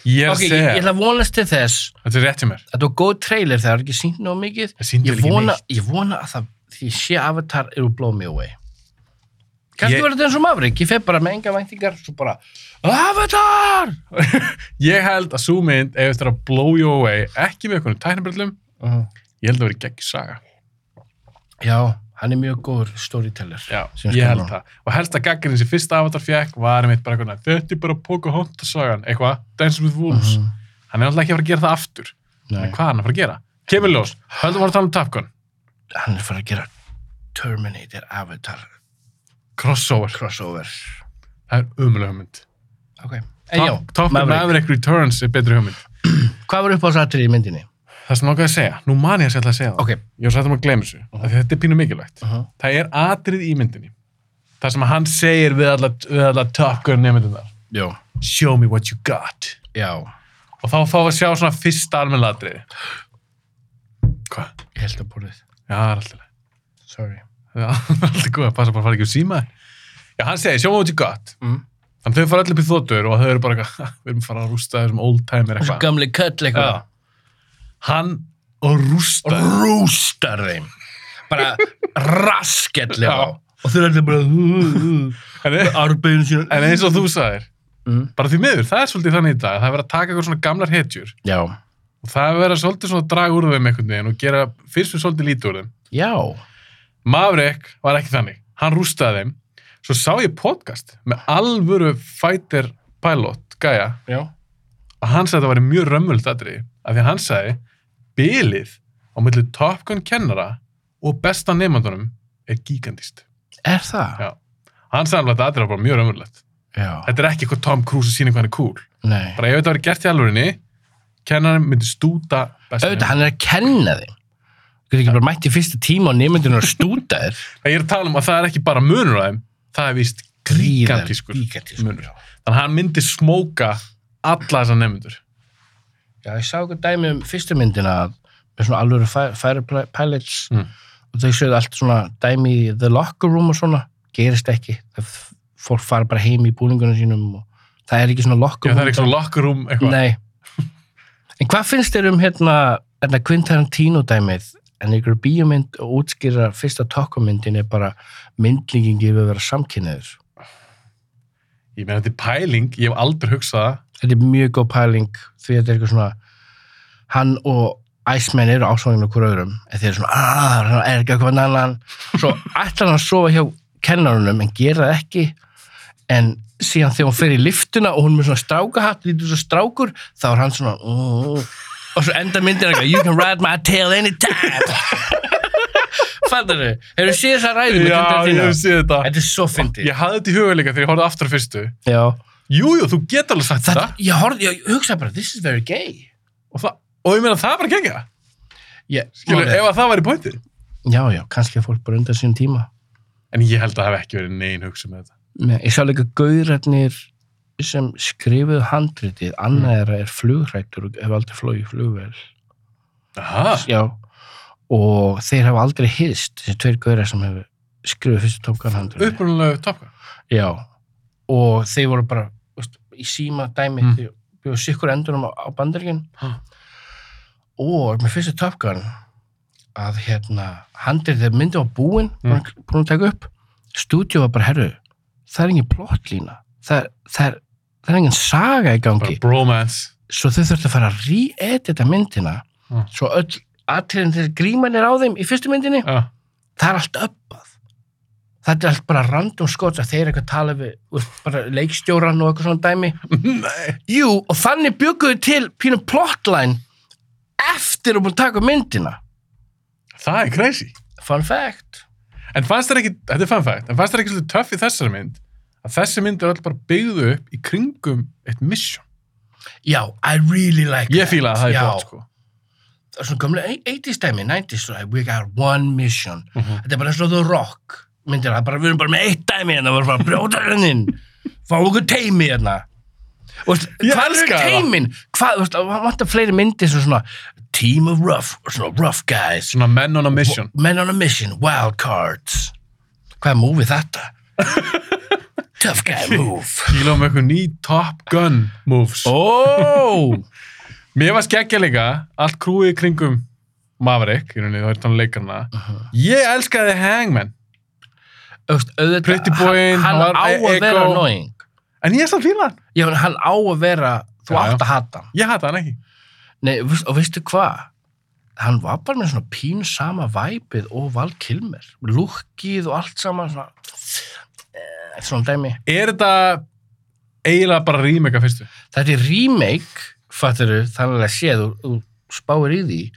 Speaker 1: Ég er
Speaker 2: Ok,
Speaker 1: að
Speaker 2: ég,
Speaker 1: segja,
Speaker 2: ég ætla að vonast til þess
Speaker 1: þetta er rétt hjá mér.
Speaker 2: að það var góð trailer þegar það er ekki sínt nóg mikið.
Speaker 1: Það sýndir
Speaker 2: Ég
Speaker 1: ekki
Speaker 2: vona,
Speaker 1: neitt.
Speaker 2: ég vona að það, því ég sé Avatar eru blow me away. Kannski
Speaker 1: Ég-
Speaker 2: verður þetta eins og Maverick, ég fer bara með enga væntingar, svo bara, Avatar!
Speaker 1: <laughs> Ég held að sú mynd eða þetta er að blow you away, ekki með einhvern tæknabrillum, ég held að vera gegn saga.
Speaker 2: Já, hann er mjög góður storyteller.
Speaker 1: Já,
Speaker 2: Sem
Speaker 1: ég
Speaker 2: skal
Speaker 1: held
Speaker 2: nú.
Speaker 1: það. Og helst að gaggarinn sem fyrsta avatar fekk var einmitt bara einhvern veginn, þetta er bara Pocahontas-sagan, eitthvað, Dance with Wolves.
Speaker 2: Mhm.
Speaker 1: Hann er alltaf ekki að fara að gera það aftur.
Speaker 2: Nei,
Speaker 1: En hvað er hann að fara að gera? Kemur ljós, höldum að tala um Top Gun,
Speaker 2: hann er fyrir að gera Terminator Avatar
Speaker 1: crossover,
Speaker 2: crossover.
Speaker 1: það er umulega hugmynd.
Speaker 2: Ok. En Eh, já,
Speaker 1: Top Top Gun
Speaker 2: Maverick.
Speaker 1: Maverick Returns er betri hugmynd.
Speaker 2: Hvað var upp á sattir í myndinni?
Speaker 1: Það sem náttúrulega að segja, nú man ég að segja að segja það.
Speaker 2: Ok.
Speaker 1: Ég var sættum að gleyma þessu, uh -huh. þetta er pínu mikilvægt.
Speaker 2: Uh
Speaker 1: Það er atrið í myndinni. Það sem að hann segir við alla, við alla Top Gun nefndinnar.
Speaker 2: Jó,
Speaker 1: Show me what you got.
Speaker 2: já.
Speaker 1: Og þá fá að sjá svona fyrsta almenna atriði. Hvað?
Speaker 2: Ég held að borðið.
Speaker 1: Já, það er alltaf leið.
Speaker 2: Sorry.
Speaker 1: Já, <laughs> það er alltaf góð að passa bara að fara ekki um síma. Já, hann segir, show me what you got.
Speaker 2: Mm.
Speaker 1: Þannig þau fara allir upp í þóttur og þau eru bara eitthvað, <laughs> "Ha, við erum fara að rústa þessum old-timer
Speaker 2: Svo
Speaker 1: eitthvað.
Speaker 2: gamli köll eitthvað.
Speaker 1: Já. Hann og rústa.
Speaker 2: Rústar þeim. Bara rasketlega
Speaker 1: Já.
Speaker 2: á. Og þeir ætla bara
Speaker 1: En,
Speaker 2: arbeiðin sín.
Speaker 1: en eins og þú sagðir,
Speaker 2: Mm.
Speaker 1: bara því miður, það er svolítið þannig í dag. Það er verið að taka eitthvað svona gamlar hetjur
Speaker 2: Já.
Speaker 1: og það er verið að svolítið svona draga úr þeim einhvern veginn og gera fyrst og svolítið lítið úr þeim.
Speaker 2: Já.
Speaker 1: Maverick var ekki þannig. Hann rústaði þeim. Svo sá ég podcast með alvöru fighter pilot, gæja,
Speaker 2: Já.
Speaker 1: að hann sagði að það væri mjög römmult atriði. Af því að hann sagði, bilið á milli Top Gun kennara og besta nefnandunum er gigantist.
Speaker 2: Er það?
Speaker 1: Já. Hann sagði alveg að þetta atriði var bara mjög römmulegt.
Speaker 2: Já.
Speaker 1: Þetta er ekki eitthvað Tom Cruise að sína hvað hann er cool.
Speaker 2: Nei.
Speaker 1: Bara ef þetta væri gert í alvörinni, kennarin myndi stúta besta
Speaker 2: Auðvitað,
Speaker 1: nemandanum.
Speaker 2: hann er að kenna þeim. Þú getur ekki bara mætt í fyrsta tíma og nefndinu að stúta þér.
Speaker 1: En Ég er að tala um að það er ekki bara munur á þeim, það er víst gigantískur.
Speaker 2: Gigantískur.
Speaker 1: munur.
Speaker 2: já.
Speaker 1: Þannig að hann myndi smóka alla þessar nefndur.
Speaker 2: Já, ég sá eitthvað dæmi um fyrstu myndina að- með svona alvöru fi- fighter pl- pilots
Speaker 1: Mm.
Speaker 2: og þau séu allt svona dæmi í the locker room og svona, gerist ekki það f- fólk fara bara heim í búningunum sínum og það er ekki svona locker
Speaker 1: Já, það er eitthvað
Speaker 2: dæmi.
Speaker 1: locker room eitthvað.
Speaker 2: Nei En hvað finnst þér um hérna, hérna Quintaran Tino dæmið en ykkur bíómynd og útskýra fyrsta tokkumyndin er bara myndlíkingi yfir að vera samkynniður
Speaker 1: Ég meina þetta er pæling, ég hef aldrei hugsað það.
Speaker 2: þetta er mjög góð pæling því þetta er eitthvað svona hann og Iceman eru ásvangin okkur öðrum en þeir eru svona "Ah, hann er ekki eitthvað annan
Speaker 1: <laughs>
Speaker 2: svo ætlar hann að sofa hjá kennarunum en gera það ekki en síðan þegar hún fer í liftuna og hún er með svona strákahatt, lítur svo strákur þá er hann svona "Mm." og svo enda myndir eitthvað you can ride my tail anytime <laughs> fattar þau, hefur séð þessa ræðum
Speaker 1: Já, ég hef séð þetta.
Speaker 2: þetta er svo fyndið
Speaker 1: Ég hafði þetta í huga líka þegar ég horfði aftur á fyrstu.
Speaker 2: já.
Speaker 1: Jú, jú, þú getur alveg sagt
Speaker 2: það,
Speaker 1: þetta.
Speaker 2: ég, horfði- ég hugsaði bara this is very gay
Speaker 1: Og, það, og ég meina það er bara gengja.
Speaker 2: Ég,
Speaker 1: Skilur,
Speaker 2: málið er-
Speaker 1: ef að það væri pointið.
Speaker 2: Já, já, kannski að fólk bara undan sínum tíma.
Speaker 1: En ég held að það hef ekki verið negin hugsa með þetta.
Speaker 2: Nei, ég sá líka gauðrarnir sem skrifuðu handritið, annað þeirra er flugrættur og hefur aldrei flogið flugvel.
Speaker 1: Aha,
Speaker 2: Já, og þeir hafa aldrei hýðst, þessi tveir gauðrar sem hefur skrifuð fyrstu tókan handritið.
Speaker 1: upprunalega topka.
Speaker 2: Já, og þeir voru bara veist, í síma dæmi,
Speaker 1: Mm.
Speaker 2: mm. þeir bjóðu sikkur endurum á, á bandaríkinn
Speaker 1: Ha.
Speaker 2: og með fyrstu Top Gun að hérna, handrið þegar myndi var búin
Speaker 1: Mm.
Speaker 2: mm. búin að taka upp stúdíu var bara, herru, það er engin plottlína það, er- það, er, það er engin saga í
Speaker 1: Bara
Speaker 2: gangi
Speaker 1: bromance.
Speaker 2: svo þau þurftu að fara að re-edita myndina
Speaker 1: Mm.
Speaker 2: svo öll atriðin þegar gríman er á þeim í fyrstu myndinni
Speaker 1: Já,
Speaker 2: það er allt uppað það er allt bara random skot að þeir eru eitthvað að tala við þú veist, bara leikstjóran og eitthvað svona dæmi
Speaker 1: Nei.
Speaker 2: Jú, og þannig bjögguðu til pínum plotline eftir að búin að taka upp myndina
Speaker 1: Það er crazy.
Speaker 2: Fun fact.
Speaker 1: En fannst þér ekki, þetta er fun fact, en fannst þér ekki svolítið töff í þessari mynd að þessi mynd er öll bara byggðu upp í kringum eitt mission.
Speaker 2: Já, I really like
Speaker 1: Ég fíla að það er
Speaker 2: Já.
Speaker 1: gott, sko.
Speaker 2: Það er svona gamla 80s dæmi, 90s, svona, we got one mission.
Speaker 1: Mhm.
Speaker 2: Þetta er bara eins og The Rock myndir það, bara, við erum bara með eitt dæmi hérna, við erum bara að brjóta hennin, fá okkur teimi hérna. Og veist,
Speaker 1: Ég
Speaker 2: hvað eru
Speaker 1: elska það.
Speaker 2: teimin? Hvað, þú veist, það vantar fleiri myndir sem svona team of rough, svona rough guys,
Speaker 1: Svona men on a mission. <laughs>
Speaker 2: men on a mission, wild cards. Hvað er múfið þetta? Tough guy move.
Speaker 1: Kíla með eitthvað ný Top Gun moves.
Speaker 2: Ó!
Speaker 1: <laughs> Mér var skeggja líka, allt krúið í kringum Maverick, í rauninni, þá er þannig leikarna. Ég elskaði Hangman,
Speaker 2: Auðvitað,
Speaker 1: Pretty Boy-in,
Speaker 2: hann
Speaker 1: hann var
Speaker 2: á að
Speaker 1: e-
Speaker 2: vera
Speaker 1: ego.
Speaker 2: annoying.
Speaker 1: en ég er samt fíla hann.
Speaker 2: Já, en hann á að vera, þú
Speaker 1: Já, já.
Speaker 2: átt að hata hann.
Speaker 1: Ég hata hann ekki.
Speaker 2: Nei, veist, og veistu hvað? Hann var bara með svona pín sama væpið og Val Kilmer. Lukkið og allt saman svona, eh, svona dæmi.
Speaker 1: Er þetta eiginlega bara rýmega fyrstu?
Speaker 2: Þetta er remake, fatturu, þannig að séð, þú, þú spáir í því,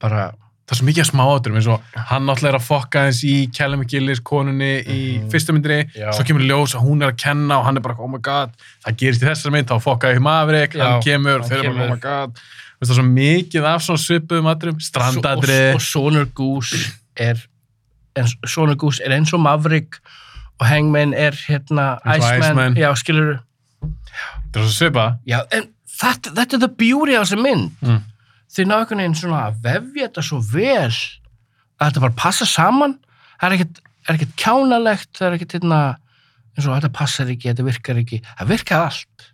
Speaker 2: bara,
Speaker 1: það er svo mikið að smá áturum eins og hann náttúrulega er að fokka hans í Callum Gillis konunni í
Speaker 2: Mhm.
Speaker 1: fyrstu myndinni
Speaker 2: Já.
Speaker 1: svo kemur ljós að hún er að kenna og hann er bara oh my god, það gerist í þessari mynd þá fokkaði Maverick,
Speaker 2: Já,
Speaker 1: hann kemur
Speaker 2: hann
Speaker 1: þau eru bara
Speaker 2: kemur.
Speaker 1: oh my god, Þú veist það er svo mikið af svona svipuðum aturum, strandadri
Speaker 2: og, og Sonur Goose er en, Sonur Goose er eins og Maverick og Hangman er hérna
Speaker 1: Eins og
Speaker 2: Iceman,
Speaker 1: Iceman.
Speaker 2: já skilur
Speaker 1: það er svo svipa
Speaker 2: já, en þetta, þetta er the beauty á þessu mynd
Speaker 1: Mm.
Speaker 2: þau ná einhvern veginn svona að vefja þetta svo vel að þetta bara passa saman það er ekkert, er ekkert kjánalegt það er ekkert hérna eins og þetta passar ekki, þetta virkar ekki það virkar allt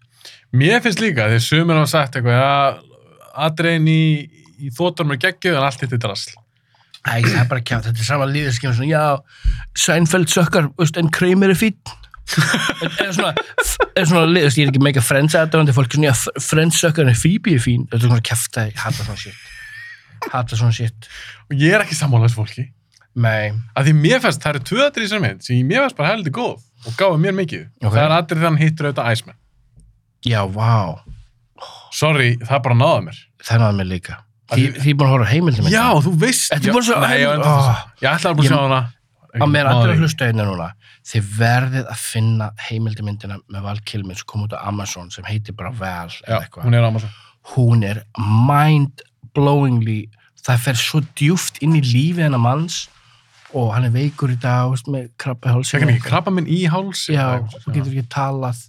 Speaker 1: mér finnst líka, þegar sumir hafa sagt eitthvað að atriðin í, í þóttunum er geggjuð en allt hitt er drasl
Speaker 2: Æ, það er bara kjátt, þetta er sama líðið skemmt svona, já, Seinfeld sökkar, veist, en Kramer er fín. eða svona, eða svona lið, veist, ég er ekki mega Friends aðdöndi, fólk er svona, já, Friends sökkar en Phoebe er fín. Þetta er svona kæfta, ég hata svona shit. Hata svona shit.
Speaker 1: og ég er ekki sammálaðis fólki
Speaker 2: Nei,
Speaker 1: að því mér finnst, það eru tvö atrið í þessari mynd sem ég- mér finnst bara heldur góð og gáði mér mikið
Speaker 2: Ok.
Speaker 1: það er atrið þegar hann hittur auðvitað Iceman
Speaker 2: já, vá,
Speaker 1: Sorry, það bara náði mér.
Speaker 2: það náði mér líka. Því,
Speaker 1: Að-
Speaker 2: því búin að horfa á heimildum.
Speaker 1: Já, þú veist.
Speaker 2: Þetta
Speaker 1: Já,
Speaker 2: er bara svo,
Speaker 1: Nei, ég, var enda
Speaker 2: Ó,
Speaker 1: að þessu. ég ætlaði bara að
Speaker 2: Ah. Ég-
Speaker 1: sjá hana.
Speaker 2: að mér
Speaker 1: Náði
Speaker 2: allir að
Speaker 1: ekki.
Speaker 2: hlusta einu núna. Þið verðið að finna heimildumyndina með Val Kilmer sem kom út á Amazon sem heitir bara Val
Speaker 1: Já,
Speaker 2: eða eitthvað.
Speaker 1: hún er á Amazon.
Speaker 2: hún er mind-blowingly það fer svo djúft inn í lífið hennar manns og hann er veikur í dag veist, með krabba hálsum
Speaker 1: Fekk hann ekki krabba minn í hálsi?
Speaker 2: já, hann getur ekki talað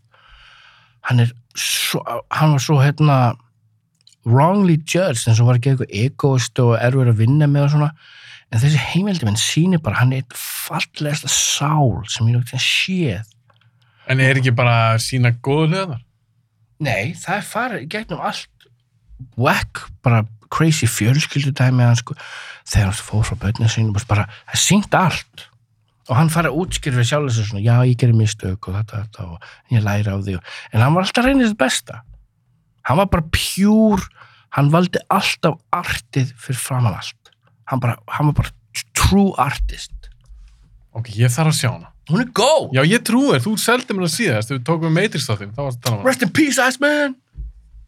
Speaker 2: hann er svo, hann var svo hérna wrongly judged eins og var ekki eitthvað egoist og erfur að vinna með og svona en þessi heimildi minn sýnir bara hann er eitt fallegasta sál sem ég noktið séð
Speaker 1: En er ekki bara að sína góðu hliðanar?
Speaker 2: Nei, það er farið í gegnum allt whack, bara crazy fjölskyldudæmi hann sko, þegar hann fór frá börnin sínu bara, það er sínt allt og hann farið að útskýra við sjálf þessu svona, já, ég gerir mistök og þetta, þetta og ég læra á því og, en hann var alltaf reynið þetta besta hann var bara pjúr hann valdi alltaf artið fyrir framan allt hann, bara, hann var bara true artist
Speaker 1: Ok, ég þarf að sjá hana.
Speaker 2: hún er góð
Speaker 1: Já, ég trú þér, þú seldi mér það síðast, þegar við tókum með Matrix þáttinn, þá varst að tala um hana.
Speaker 2: rest in peace, Iceman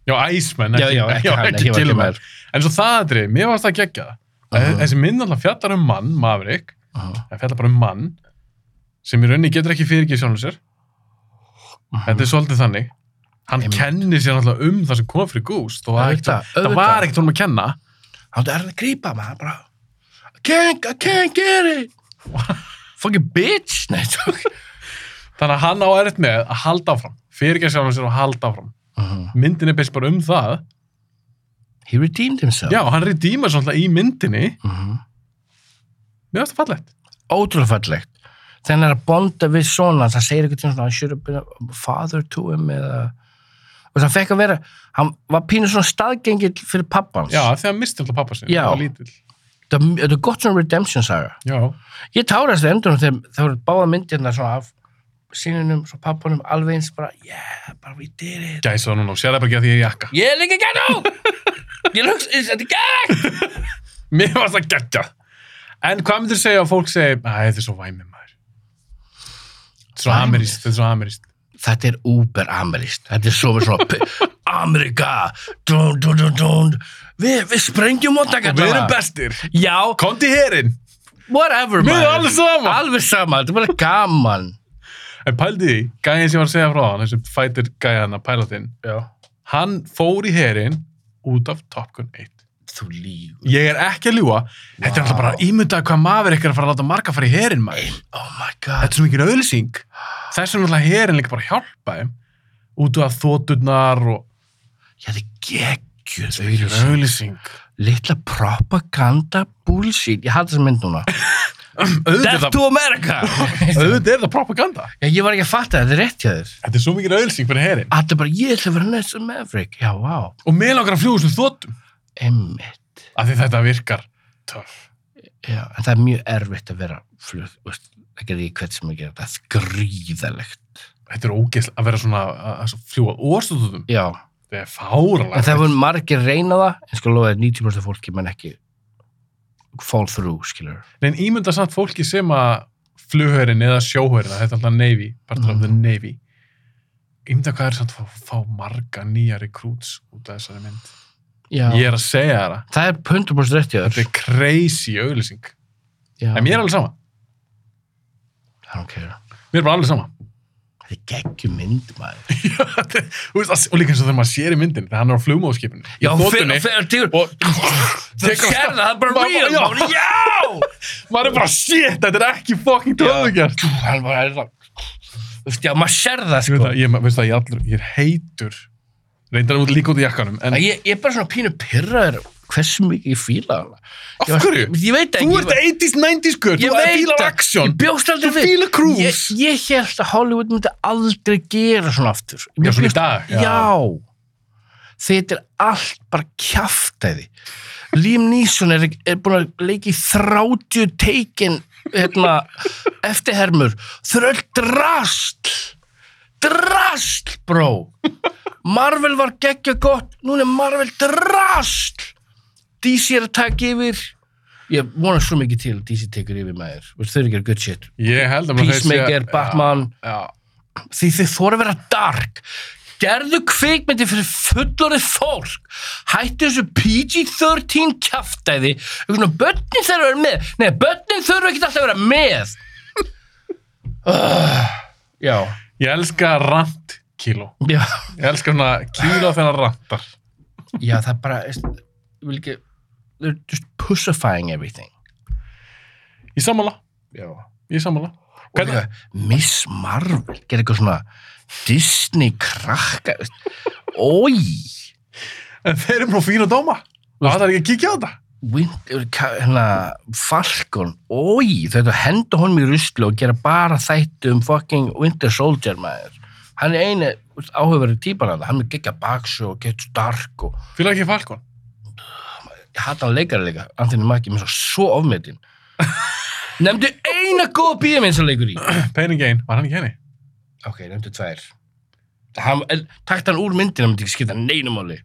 Speaker 1: Já, Iceman, ekki,
Speaker 2: Gilmore.
Speaker 1: Gilmore. En svo það aðri, mér varst að gegja það. Uh
Speaker 2: Mhm.
Speaker 1: Þessi mynd alltaf fjallar um mann, Maverick,
Speaker 2: Mhm.
Speaker 1: það fjallar bara um mann, sem í rauninni getur ekki fyrirgið sjónu sér. Þetta er svolítið þannig. Hann
Speaker 2: Mhm. Einmitt.
Speaker 1: kennir sér alltaf um það sem kom fyrir Gúst og það, ekkert,
Speaker 2: Auðvitað,
Speaker 1: það
Speaker 2: auðvitað.
Speaker 1: var ekkert honum að kenna.
Speaker 2: hann er að grípa mig, hann bara I can't, I can't get it fucking bitch nei, tók
Speaker 1: Þannig að hann á erfitt með að halda áfram. Fyrirgeð sjálfum sér og halda áfram.
Speaker 2: Mhm.
Speaker 1: Myndin er best bara um það.
Speaker 2: he redeemed himself
Speaker 1: Já, hann redeemar svona alltaf í myndinni.
Speaker 2: Mhm.
Speaker 1: Mér finnst það fallegt.
Speaker 2: ótrúlega fallegt þegar hann er að bonda við svona það segir eitthvað svona, I should have been a father to him eða og það fekk að vera, hann var pínu svona staðgengill fyrir pappans
Speaker 1: Já, þegar hann misti alltaf pappa sér.
Speaker 2: Já.
Speaker 1: Það var lítill.
Speaker 2: þetta þetta er gott svona redemption saga
Speaker 1: Já.
Speaker 2: ég tárast það endur þegar það voru báða myndirna svona af sínunum, svo pappanum alveg eins bara, yeah, bara we did it
Speaker 1: Gæsa það núna og sér það bara ekki að því ég er í jakka.
Speaker 2: Ég er líka gæt á! Ég lukst, þetta er gæt!
Speaker 1: Mér finnst það gegja. En hvað myndir segja að fólk segi, æ, þetta er svo væmið maður. Þetta er svo
Speaker 2: Væmið?
Speaker 1: amerískt, þetta er svo amerískt.
Speaker 2: Þetta er uber ameríst. Þetta er svo með svona p- Amerika, dún, dún, dún, dún. Við, við sprengjum móta
Speaker 1: Og við erum bestir.
Speaker 2: Já,
Speaker 1: Kondi hérinn.
Speaker 2: whatever,
Speaker 1: Mér er alveg sama.
Speaker 2: Alveg sama, þetta er bara gaman.
Speaker 1: En pældi því, gæðin sem ég var að segja frá hann, þessum fighter gæðana, pilotinn,
Speaker 2: Já.
Speaker 1: hann fór í herin út af Top Gun 1.
Speaker 2: Þú lígur.
Speaker 1: Ég er ekki að ljúa, þetta er alltaf bara ímyndað hvað maður ekki er að fara að láta marga fara í herin maður.
Speaker 2: Oh my
Speaker 1: Þetta
Speaker 2: god.
Speaker 1: er svo mikil auðlýsing. Þess vegna alltaf herin líka bara að hjálpa þeim út af þóturnar og
Speaker 2: Já, þetta er geggjur.
Speaker 1: auðlýsing.
Speaker 2: Littla propaganda bullshit. Ég hatt þess að mynd núna.
Speaker 1: <laughs> Auðvitað er
Speaker 2: Death
Speaker 1: það-
Speaker 2: to America!
Speaker 1: auðvitað er það propaganda.
Speaker 2: Já, ég var ekki að fatta það, þetta er rétt hjá þér.
Speaker 1: Þetta er svo mikil auðlýsing fyrir herin.
Speaker 2: Allir bara, ég ætla að vera Nelson Maverick. Já, vá,
Speaker 1: Og mig langar að fljúa sem þóttum.
Speaker 2: emmitt.
Speaker 1: Af því þetta virkar töff.
Speaker 2: Já, en það er mjög erfitt að vera flug, veist, það gerði ég hvert sem ég gerði, það er gríðalegt.
Speaker 1: Þetta er ógeðslega að vera svona að að fljúa orðstúðum.
Speaker 2: Já,
Speaker 1: Þetta er fáralega.
Speaker 2: en það voru margir reyna það, en sko lofa þér 90% fólki menn ekki fall through, skilur.
Speaker 1: En ímynda samt fólki sem að flugherinn eða sjóherinn, að þetta er alltaf Navy, partur af the
Speaker 2: Mhm.
Speaker 1: Navy. Ímynda hvað er samt að fá, fá marga nýja rekrúts út af þessari mynd.
Speaker 2: Já.
Speaker 1: Ég er að segja þér það.
Speaker 2: Það er 100% rétt hjá
Speaker 1: Þetta
Speaker 2: þér.
Speaker 1: er crazy auðlýsing.
Speaker 2: Já.
Speaker 1: En mér er alveg sama.
Speaker 2: I don't care.
Speaker 1: Mér er bara alveg sama.
Speaker 2: Þetta er geggjum mynd, maður.
Speaker 1: <laughs> Þú veist, að- og líka eins og þegar maður sér í myndin, þegar hann er á flugmóðskipinu.
Speaker 2: Já, fyrir, fyrir, dude, <laughs>
Speaker 1: og
Speaker 2: það
Speaker 1: tekur á stað.
Speaker 2: sér það, það er bara
Speaker 1: Maður-
Speaker 2: real,
Speaker 1: já.
Speaker 2: maður, já!
Speaker 1: maður er bara, shit, þetta er ekki fucking töðugjart.
Speaker 2: Hann bara er það, þú veist, já, maður sér það,
Speaker 1: Ég veit
Speaker 2: sko.
Speaker 1: að, ég, veist það, ég, allur, ég er heitur. Reyndar út líka út í jakkanum, en
Speaker 2: En Ég, ég er bara svona pínu pyrraður hversu mikið ég fíla hana.
Speaker 1: af
Speaker 2: Ég var-
Speaker 1: hverju?
Speaker 2: Ég veit ekki.
Speaker 1: Þú
Speaker 2: ég
Speaker 1: ert
Speaker 2: var-
Speaker 1: 80s, 90s gaur,
Speaker 2: Ég
Speaker 1: þú ert
Speaker 2: veit
Speaker 1: fílar
Speaker 2: það.
Speaker 1: action,
Speaker 2: Ég bjóst aldrei
Speaker 1: þú fílar
Speaker 2: Ég,
Speaker 1: cruise.
Speaker 2: ég held að Hollywood myndi aldrei gera svona aftur.
Speaker 1: Já,
Speaker 2: Mér
Speaker 1: svona í
Speaker 2: finnst-
Speaker 1: dag, já.
Speaker 2: Já. Þetta er allt bara kjaftæði. Liam Neeson er, er búin að leika í 30 teikin hérna, <laughs> eftirhermur. Þau eru öll drast. Drast, bró. Marvel var geggja gott. Núna er Marvel drast. DC er að taka yfir. Ég vona svo mikið til að DC tekur yfir maður. Veist, Þau eru ekki að gera good shit.
Speaker 1: Ég held að þeir
Speaker 2: Peacemaker,
Speaker 1: séu-
Speaker 2: Batman
Speaker 1: Já, já.
Speaker 2: því þið þóra að vera dark gerðu kvikmyndi fyrir fullorið fólk hættu þessu PG-13 kjaftæði einhvern veginn börnin þurfa að vera með nei, börnin þurfa ekki alltaf að vera með uh, Ah, já,
Speaker 1: Ég elska rant kíló.
Speaker 2: já
Speaker 1: Ég elska svona kíló þegar hann rantar.
Speaker 2: já, það er bara veist, ég vil ekki, they're just pussifying everything
Speaker 1: Ég sammála,
Speaker 2: já
Speaker 1: ég sammála. Hvernig,
Speaker 2: Hvernig? Miss Marvel gerði eitthvað svona Disney krakka oi
Speaker 1: en þeir eru nú fín að dóma. Og það er ekki að kíkja á þetta.
Speaker 2: Winter, ka- hérna, Falcon, oi, þau ættu að henda honum í ruslu og gera bara þætti um fucking Winter Soldier maður. Hann er eini áhugaverið típan hann, hann er gegja baksu og gett stark og
Speaker 1: Fílar ekki Falcon?
Speaker 2: ég hata hann leikari líka, Anthony Mackie, mér er svo svo ofmetinn. nefndu eina góða bíðaminn sem leikur í.
Speaker 1: Pain and Gain, var hann ekki henni?
Speaker 2: ok, nefndu tvær. Hann, en, takt hann úr myndina, myndi ekki skipta neinum máli.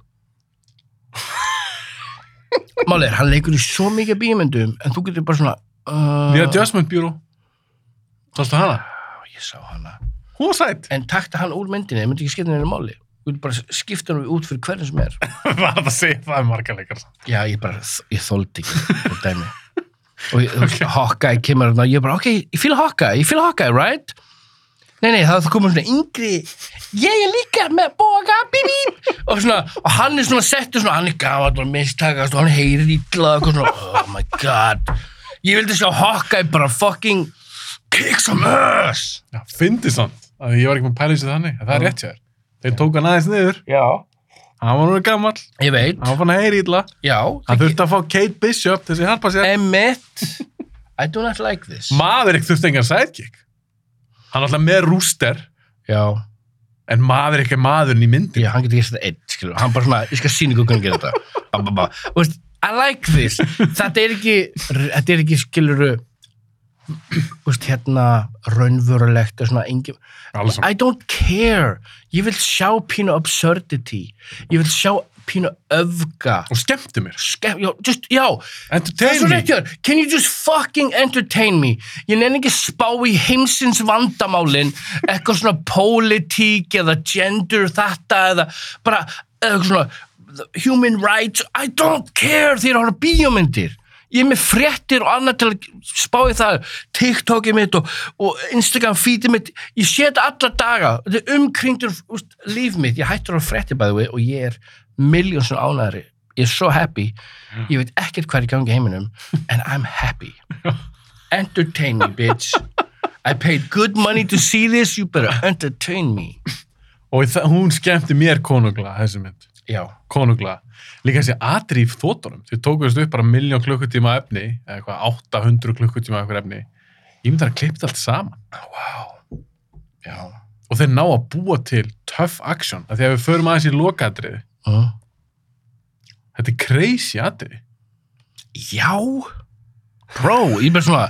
Speaker 2: Máli er, hann leikur í svo mikið bíðamindum en þú getur bara svona... Uh,
Speaker 1: The Adjustment Bureau. Sástu hana?
Speaker 2: ég sá hana
Speaker 1: Hún var sætt.
Speaker 2: en takta hann úr myndinni, það myndi ekki skipta henni máli þú vil bara skipta hann út fyrir hverjum sem er
Speaker 1: <laughs> var það að segja það um marga leikar.
Speaker 2: já, ég bara, ég þóldi ekki þetta dæmi og ég, okay. Hawkeye kemur hann og ég bara, ok, ég fíla Hawkeye ég fíla Hawkeye, right? nei, nei, það komur svona yngri ég er líka með boga bíbí og svona, og hann er svona settur svona, hann er gamall og mistakast og hann heyrir illa og eitthvað svona, oh my god ég vildi sjá Hawkeye bara fucking kick some ass
Speaker 1: Já, fyndi samt. að Ég var ekki með pæla í þessu þannig. en Það er
Speaker 2: Já.
Speaker 1: rétt hjá þér. Þeir tók hann aðeins niður.
Speaker 2: já,
Speaker 1: Hann var nú gammal.
Speaker 2: ég veit,
Speaker 1: Hann var fann að heyri illa.
Speaker 2: já
Speaker 1: Hann þurfti að fá Kate Bishop þessi harpa sér.
Speaker 2: Emmett I do not like this
Speaker 1: Maverick þurfti engan sidekick. Hann var alltaf með rúster,
Speaker 2: Já,
Speaker 1: en Maverick er maðurinn í myndin.
Speaker 2: já hann getur gert þetta einn skilur. Hann bara svona, ég skal sína ykkur hvernig að gera þetta ba, ba, ba. Þú veist, I like this Þetta er ekki, þetta er ekki skilur Vist, hérna raunvörulegt og svona engin,
Speaker 1: Alveg saman.
Speaker 2: I don't care ég vil sjá pínu absurdity ég vil sjá pínu öfga
Speaker 1: Og skemmti mér.
Speaker 2: Ske, já, just, já, Það er svo
Speaker 1: Entertain
Speaker 2: rétt
Speaker 1: me.
Speaker 2: hjá þér. Can you just fucking entertain me? Ég nenni ekki að spá í heimsins vandamálin, eitthvað svona <laughs> pólitík eða gender þetta eða bara eitthvað svona human rights. I don't care því að horfa á bíómyndir. Ég er með fréttir og annað til að spá í það, TikTokið mitt og, og Instagram feedið mitt. Ég sé þetta alla daga. Þetta er umkringdur úst, líf mitt. Ég hættur á fréttir bæði og ég er miljónsum ánæðri. Ég er so happy ég veit ekkert hvað er í gangi í <laughs> heiminum and I'm happy entertain me bitch I paid good money to see this you better entertain me
Speaker 1: Og það, hún skemmti mér konungla, þessi mynd.
Speaker 2: já,
Speaker 1: konunglega. Líka þessi atri í þótunum. Þau tókuðust upp bara miljón klukkutíma af efni, eða eitthvað 800 klukkutíma af eitthvað efni. Ég myndi að klipta allt saman.
Speaker 2: wow já,
Speaker 1: Og þeir ná að búa til tough action. Af því að við förum aðeins í lokatriði.
Speaker 2: mm.
Speaker 1: Þetta er crazy atriði.
Speaker 2: já bro, ég með svona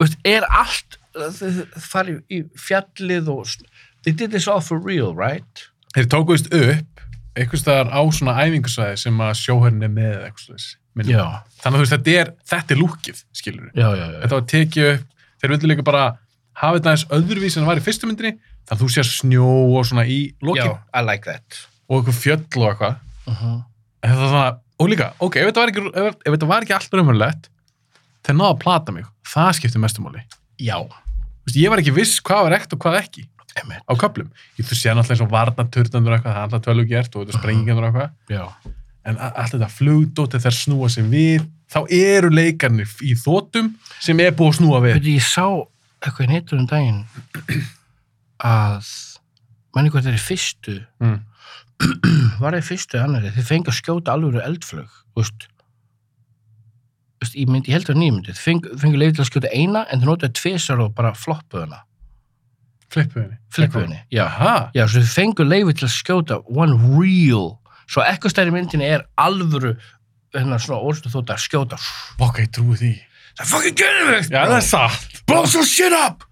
Speaker 2: veist, er allt þið farið í fjallið og sn- they did this all for real, right?
Speaker 1: Þeir tókuðust upp einhvers staðar á svona æfingasvæði sem að sjóherrin er með eða eitthvað slags. Þannig
Speaker 2: já,
Speaker 1: að þú veist, þetta er, þetta er lúkið, skilur við.
Speaker 2: já, já, já,
Speaker 1: Þetta var tekið upp, þeir vildu líka bara hafa þetta aðeins öðruvísi en það var í fyrstu myndinni, þannig að þú sér snjó og svona í lokin
Speaker 2: já I like that
Speaker 1: og eitthvað fjöll og eitthvað.
Speaker 2: uh -huh.
Speaker 1: En Þetta var svona, og líka, ok, ef þetta var ekki, ef, ef þetta var ekki alltaf raunverulegt, þeir náðu að plata mig. Það skiptir mestumáli.
Speaker 2: já,
Speaker 1: Ég var ekki viss hvað var ekt og hvað ekki
Speaker 2: emitt,
Speaker 1: á köplum. Ég þú sé náttúrulega eins og varnaturnandur eitthvað, það er alltaf tölvu gert og þetta sprengingandur og eitthvað.
Speaker 2: já
Speaker 1: En a- allt þetta flugdótið þær snúa sig við, þá eru leikarnir í þótum sem er búið að snúa við.
Speaker 2: Veitir, ég sá eitthvað neitt um daginn að manni hvað þeir eru fyrstu
Speaker 1: Mm.
Speaker 2: var þeir fyrstu annari, þeir fengi að skjóta alveg eldflög, þú veist Þú veist, ég myndi, ég held að nýmyndi þeir fengi, fengi leið til að skjóta eina en þeir notaði tvisar og bara floppuðu hana
Speaker 1: Flippuðu henni.
Speaker 2: flippuðu henni, já
Speaker 1: Aha,
Speaker 2: já, svo þeir fengu leiði til að skjóta one real, svo eitthvað stærri myndinni er alvöru hennar svona orðstu þótt að skjóta
Speaker 1: ok, ég trúi því.
Speaker 2: það fucking gerum við
Speaker 1: Já, það er satt. <laughs>
Speaker 2: blow some shit up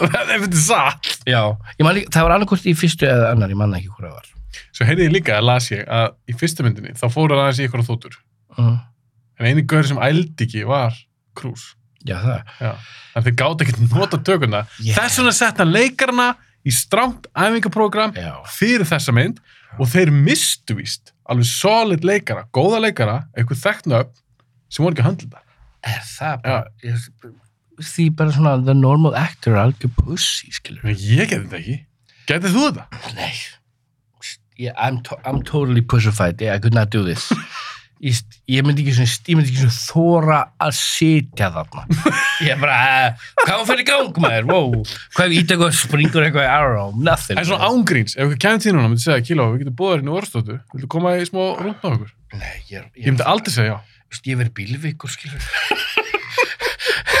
Speaker 1: það er fyrir satt.
Speaker 2: Já, ég man líka, það var annarkvort í fyrstu eða annar, ég manna ekki hvora það var.
Speaker 1: Svo heyrði ég líka, las ég, að í fyrstu myndinni, þá fóru hann aðeins í ykkur þótur.
Speaker 2: Mm.
Speaker 1: En eini gaur sem ældi ekki var Krús.
Speaker 2: Já, það.
Speaker 1: Já. En þeir gátt ekki nota tökuna.
Speaker 2: Yeah.
Speaker 1: Þess vegna sett hann leikarna í strangt æfingaprogram
Speaker 2: Já,
Speaker 1: fyrir þessa mynd og þeir mistu víst alveg solid leikara, góða leikara, eitthvað þekkna upp sem voru ekki að handla þetta.
Speaker 2: er það bara, ég, því bara svona the normal actor er algjör pussy, skilur.
Speaker 1: En Ég geti þetta ekki. Getið þú þetta?
Speaker 2: Nei, yeah, I'm, to I'm totally pussified, yeah, I could not do
Speaker 1: <laughs>
Speaker 2: this. Ég, st- ég myndi ekki svona, ég myndi ekki svona þóra að sitja
Speaker 1: <laughs>
Speaker 2: þarna. Ég bara, eh, hvað var fyrir gang, maður, wow, hvað ef ít eitthvað springur eitthvað í arrow, nothing.
Speaker 1: En svona ángríns, ef við kemum til núna, myndi segja, Kíló, við getum búið þér inn í orðstóttu, viltu koma í smá rúnd á okkur?
Speaker 2: Nei, ég,
Speaker 1: Ég myndi aldrei segja já.
Speaker 2: Þú veist, ég verið bílveikur, skilur.
Speaker 1: <laughs>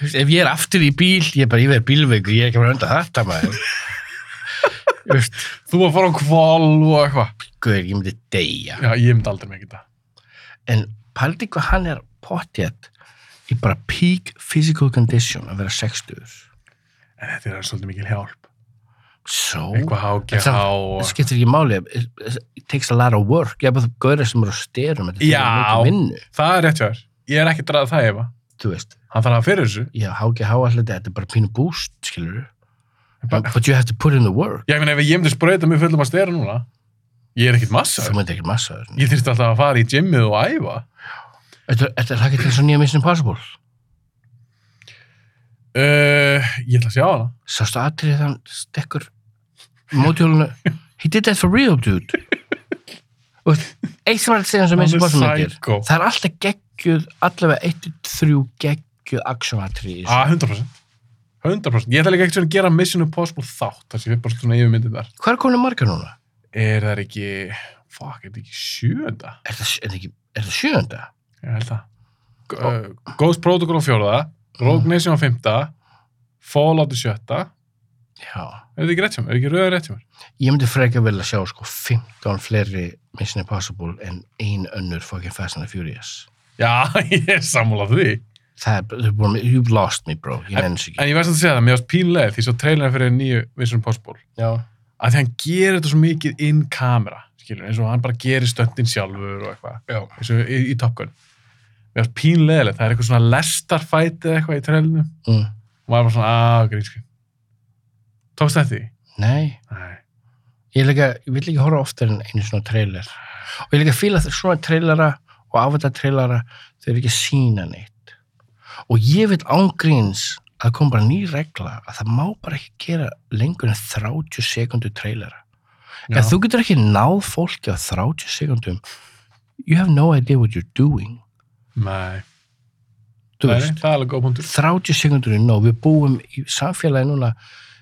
Speaker 2: Þú veist, ef ég er aftur í bíl, ég er bara, ég verið bílveikur, ég er ekki að vera undan þetta, maður. Þú veist,
Speaker 1: Þú að fara á kval og eitthvað.
Speaker 2: guður, ég myndi deyja.
Speaker 1: Já, ég myndi aldrei með þetta.
Speaker 2: En paldi hvað hann er pottjætt í bara peak physical condition að vera sextuður.
Speaker 1: En þetta er svolítið mikil hjálp.
Speaker 2: So,
Speaker 1: Eitthvað
Speaker 2: En
Speaker 1: hágjá
Speaker 2: samt-
Speaker 1: og...
Speaker 2: það skiptir ekki máli, it, it takes a lot of work. Ég er bara gauðir sem eru á styrum, þetta
Speaker 1: Já.
Speaker 2: er mikið vinnu,
Speaker 1: Það er rétt hjá þér. Ég er ekki drað það ef
Speaker 2: þú veist.
Speaker 1: hann þarf að hafa fyrir þessu.
Speaker 2: Já, hákja háallega, þetta er bara pínu búst, skilur.
Speaker 1: Bara-
Speaker 2: But you have to put in the work.
Speaker 1: Ég meina ef ég myndi sprauta mig fullum að stera núna, ég er ekkit
Speaker 2: Þú
Speaker 1: massaður.
Speaker 2: myndir ekki massa þér.
Speaker 1: Ég þyrfti alltaf að fara í gymmið og æfa.
Speaker 2: Þetta þetta er ekki til svo nýja Mission Impossible.
Speaker 1: Uh, ég ætla að sjá hana.
Speaker 2: Sástu aðrið þann stekkur mótjólunu. He did that for real, dude. Og eitt sem var að segja hans að Mission Impossible myndir.
Speaker 1: Psycho.
Speaker 2: Það er alltaf geggjuð, allavega eitt til þrjú geggjuð aksjónatrið.
Speaker 1: Ah, 100%. 100%. Ég ætla líka ekkert svona að gera Mission Impossible þátt, þar sem ég er bara svona yfir myndið þar.
Speaker 2: Hvað er komin margar núna?
Speaker 1: Er það ekki, fuck, er það ekki sjöunda?
Speaker 2: Er það, er það, ekki, er það sjöunda?
Speaker 1: Ég held það. G- Uh, Ghost Protocol á fjórða,
Speaker 2: Mm.
Speaker 1: Rogue Nation á fymta, Fallout á sjötta.
Speaker 2: Já.
Speaker 1: Er þetta ekki rétt hjá mér? Er ekki rauða rétt hjá mér?
Speaker 2: Ég myndi frekar vel að sjá sko 15 fleiri Mission Impossible en ein önnur fucking Fast and the Furious.
Speaker 1: Já, <laughs> ég er sammálað því.
Speaker 2: Það er, þau eru búin með- you've lost me, bro. Ég nenni þessu ekki.
Speaker 1: En ég verðst að segja það, mér varst pínlega því svo trailerin fyrir nýju Mission Impossible
Speaker 2: Já.
Speaker 1: að því hann gerir þetta svo mikið in kamera skilur, eins og hann bara gerir stöndin sjálfur og eitthvað,
Speaker 2: Já.
Speaker 1: eins og í, í Top Gun mér varst pínlega, það er eitthvað svona lestarfæti eða eitthvað í trailinu
Speaker 2: Mm.
Speaker 1: og maður bara svona, "Ah, aaa, grínskinn tókst þetta því?
Speaker 2: Nei.
Speaker 1: Nei,
Speaker 2: ég, líka, ég vil ekki horfa oftar en einu svona trailer og ég líka fíla það svona trailera og afvita trailera þau eru ekki að sína neitt og ég vil ángríns að það kom bara ný regla að það má bara ekki gera lengur en 30 sekundu trailera
Speaker 1: Já.
Speaker 2: ef þú getur ekki náð fólki á 30 sekundum you have no idea what you're doing
Speaker 1: nei,
Speaker 2: þú
Speaker 1: Nei,
Speaker 2: veist
Speaker 1: nei, það er alveg góð punktur
Speaker 2: 30 sekundur er nóg, við búum í samfélagi núna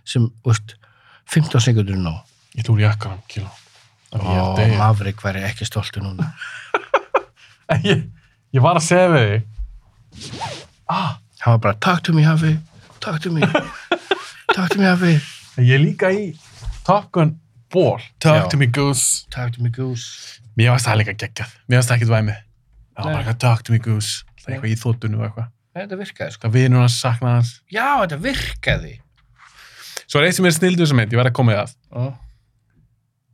Speaker 2: sem, veist 15 sekundur er nóg
Speaker 1: Ég lúr jakkanum, kíló Ó,
Speaker 2: og Maverick væri ekki stoltu núna
Speaker 1: En <laughs> ég, ég var að segja við þig. Ah,
Speaker 2: hann var bara, takk til mig hafi takk <laughs> til mig, takk til mig hafi
Speaker 1: en ég er líka í Top Gun Ball. Talk
Speaker 2: Já.
Speaker 1: to me goose.
Speaker 2: takk til mig gús
Speaker 1: Mér varst það líka geggjað. Mér varst það ekkert væmið. Það var
Speaker 2: Nei.
Speaker 1: bara eitthvað talk to me goose. Það er
Speaker 2: Nei.
Speaker 1: eitthvað í þóttunum og eitthvað.
Speaker 2: Nei, þetta virkaði sko
Speaker 1: Það vinur hans saknaði hans.
Speaker 2: já, þetta virkaði
Speaker 1: Svo er eitt sem er snildu sem mynd, ég verð að koma í það.
Speaker 2: Ó,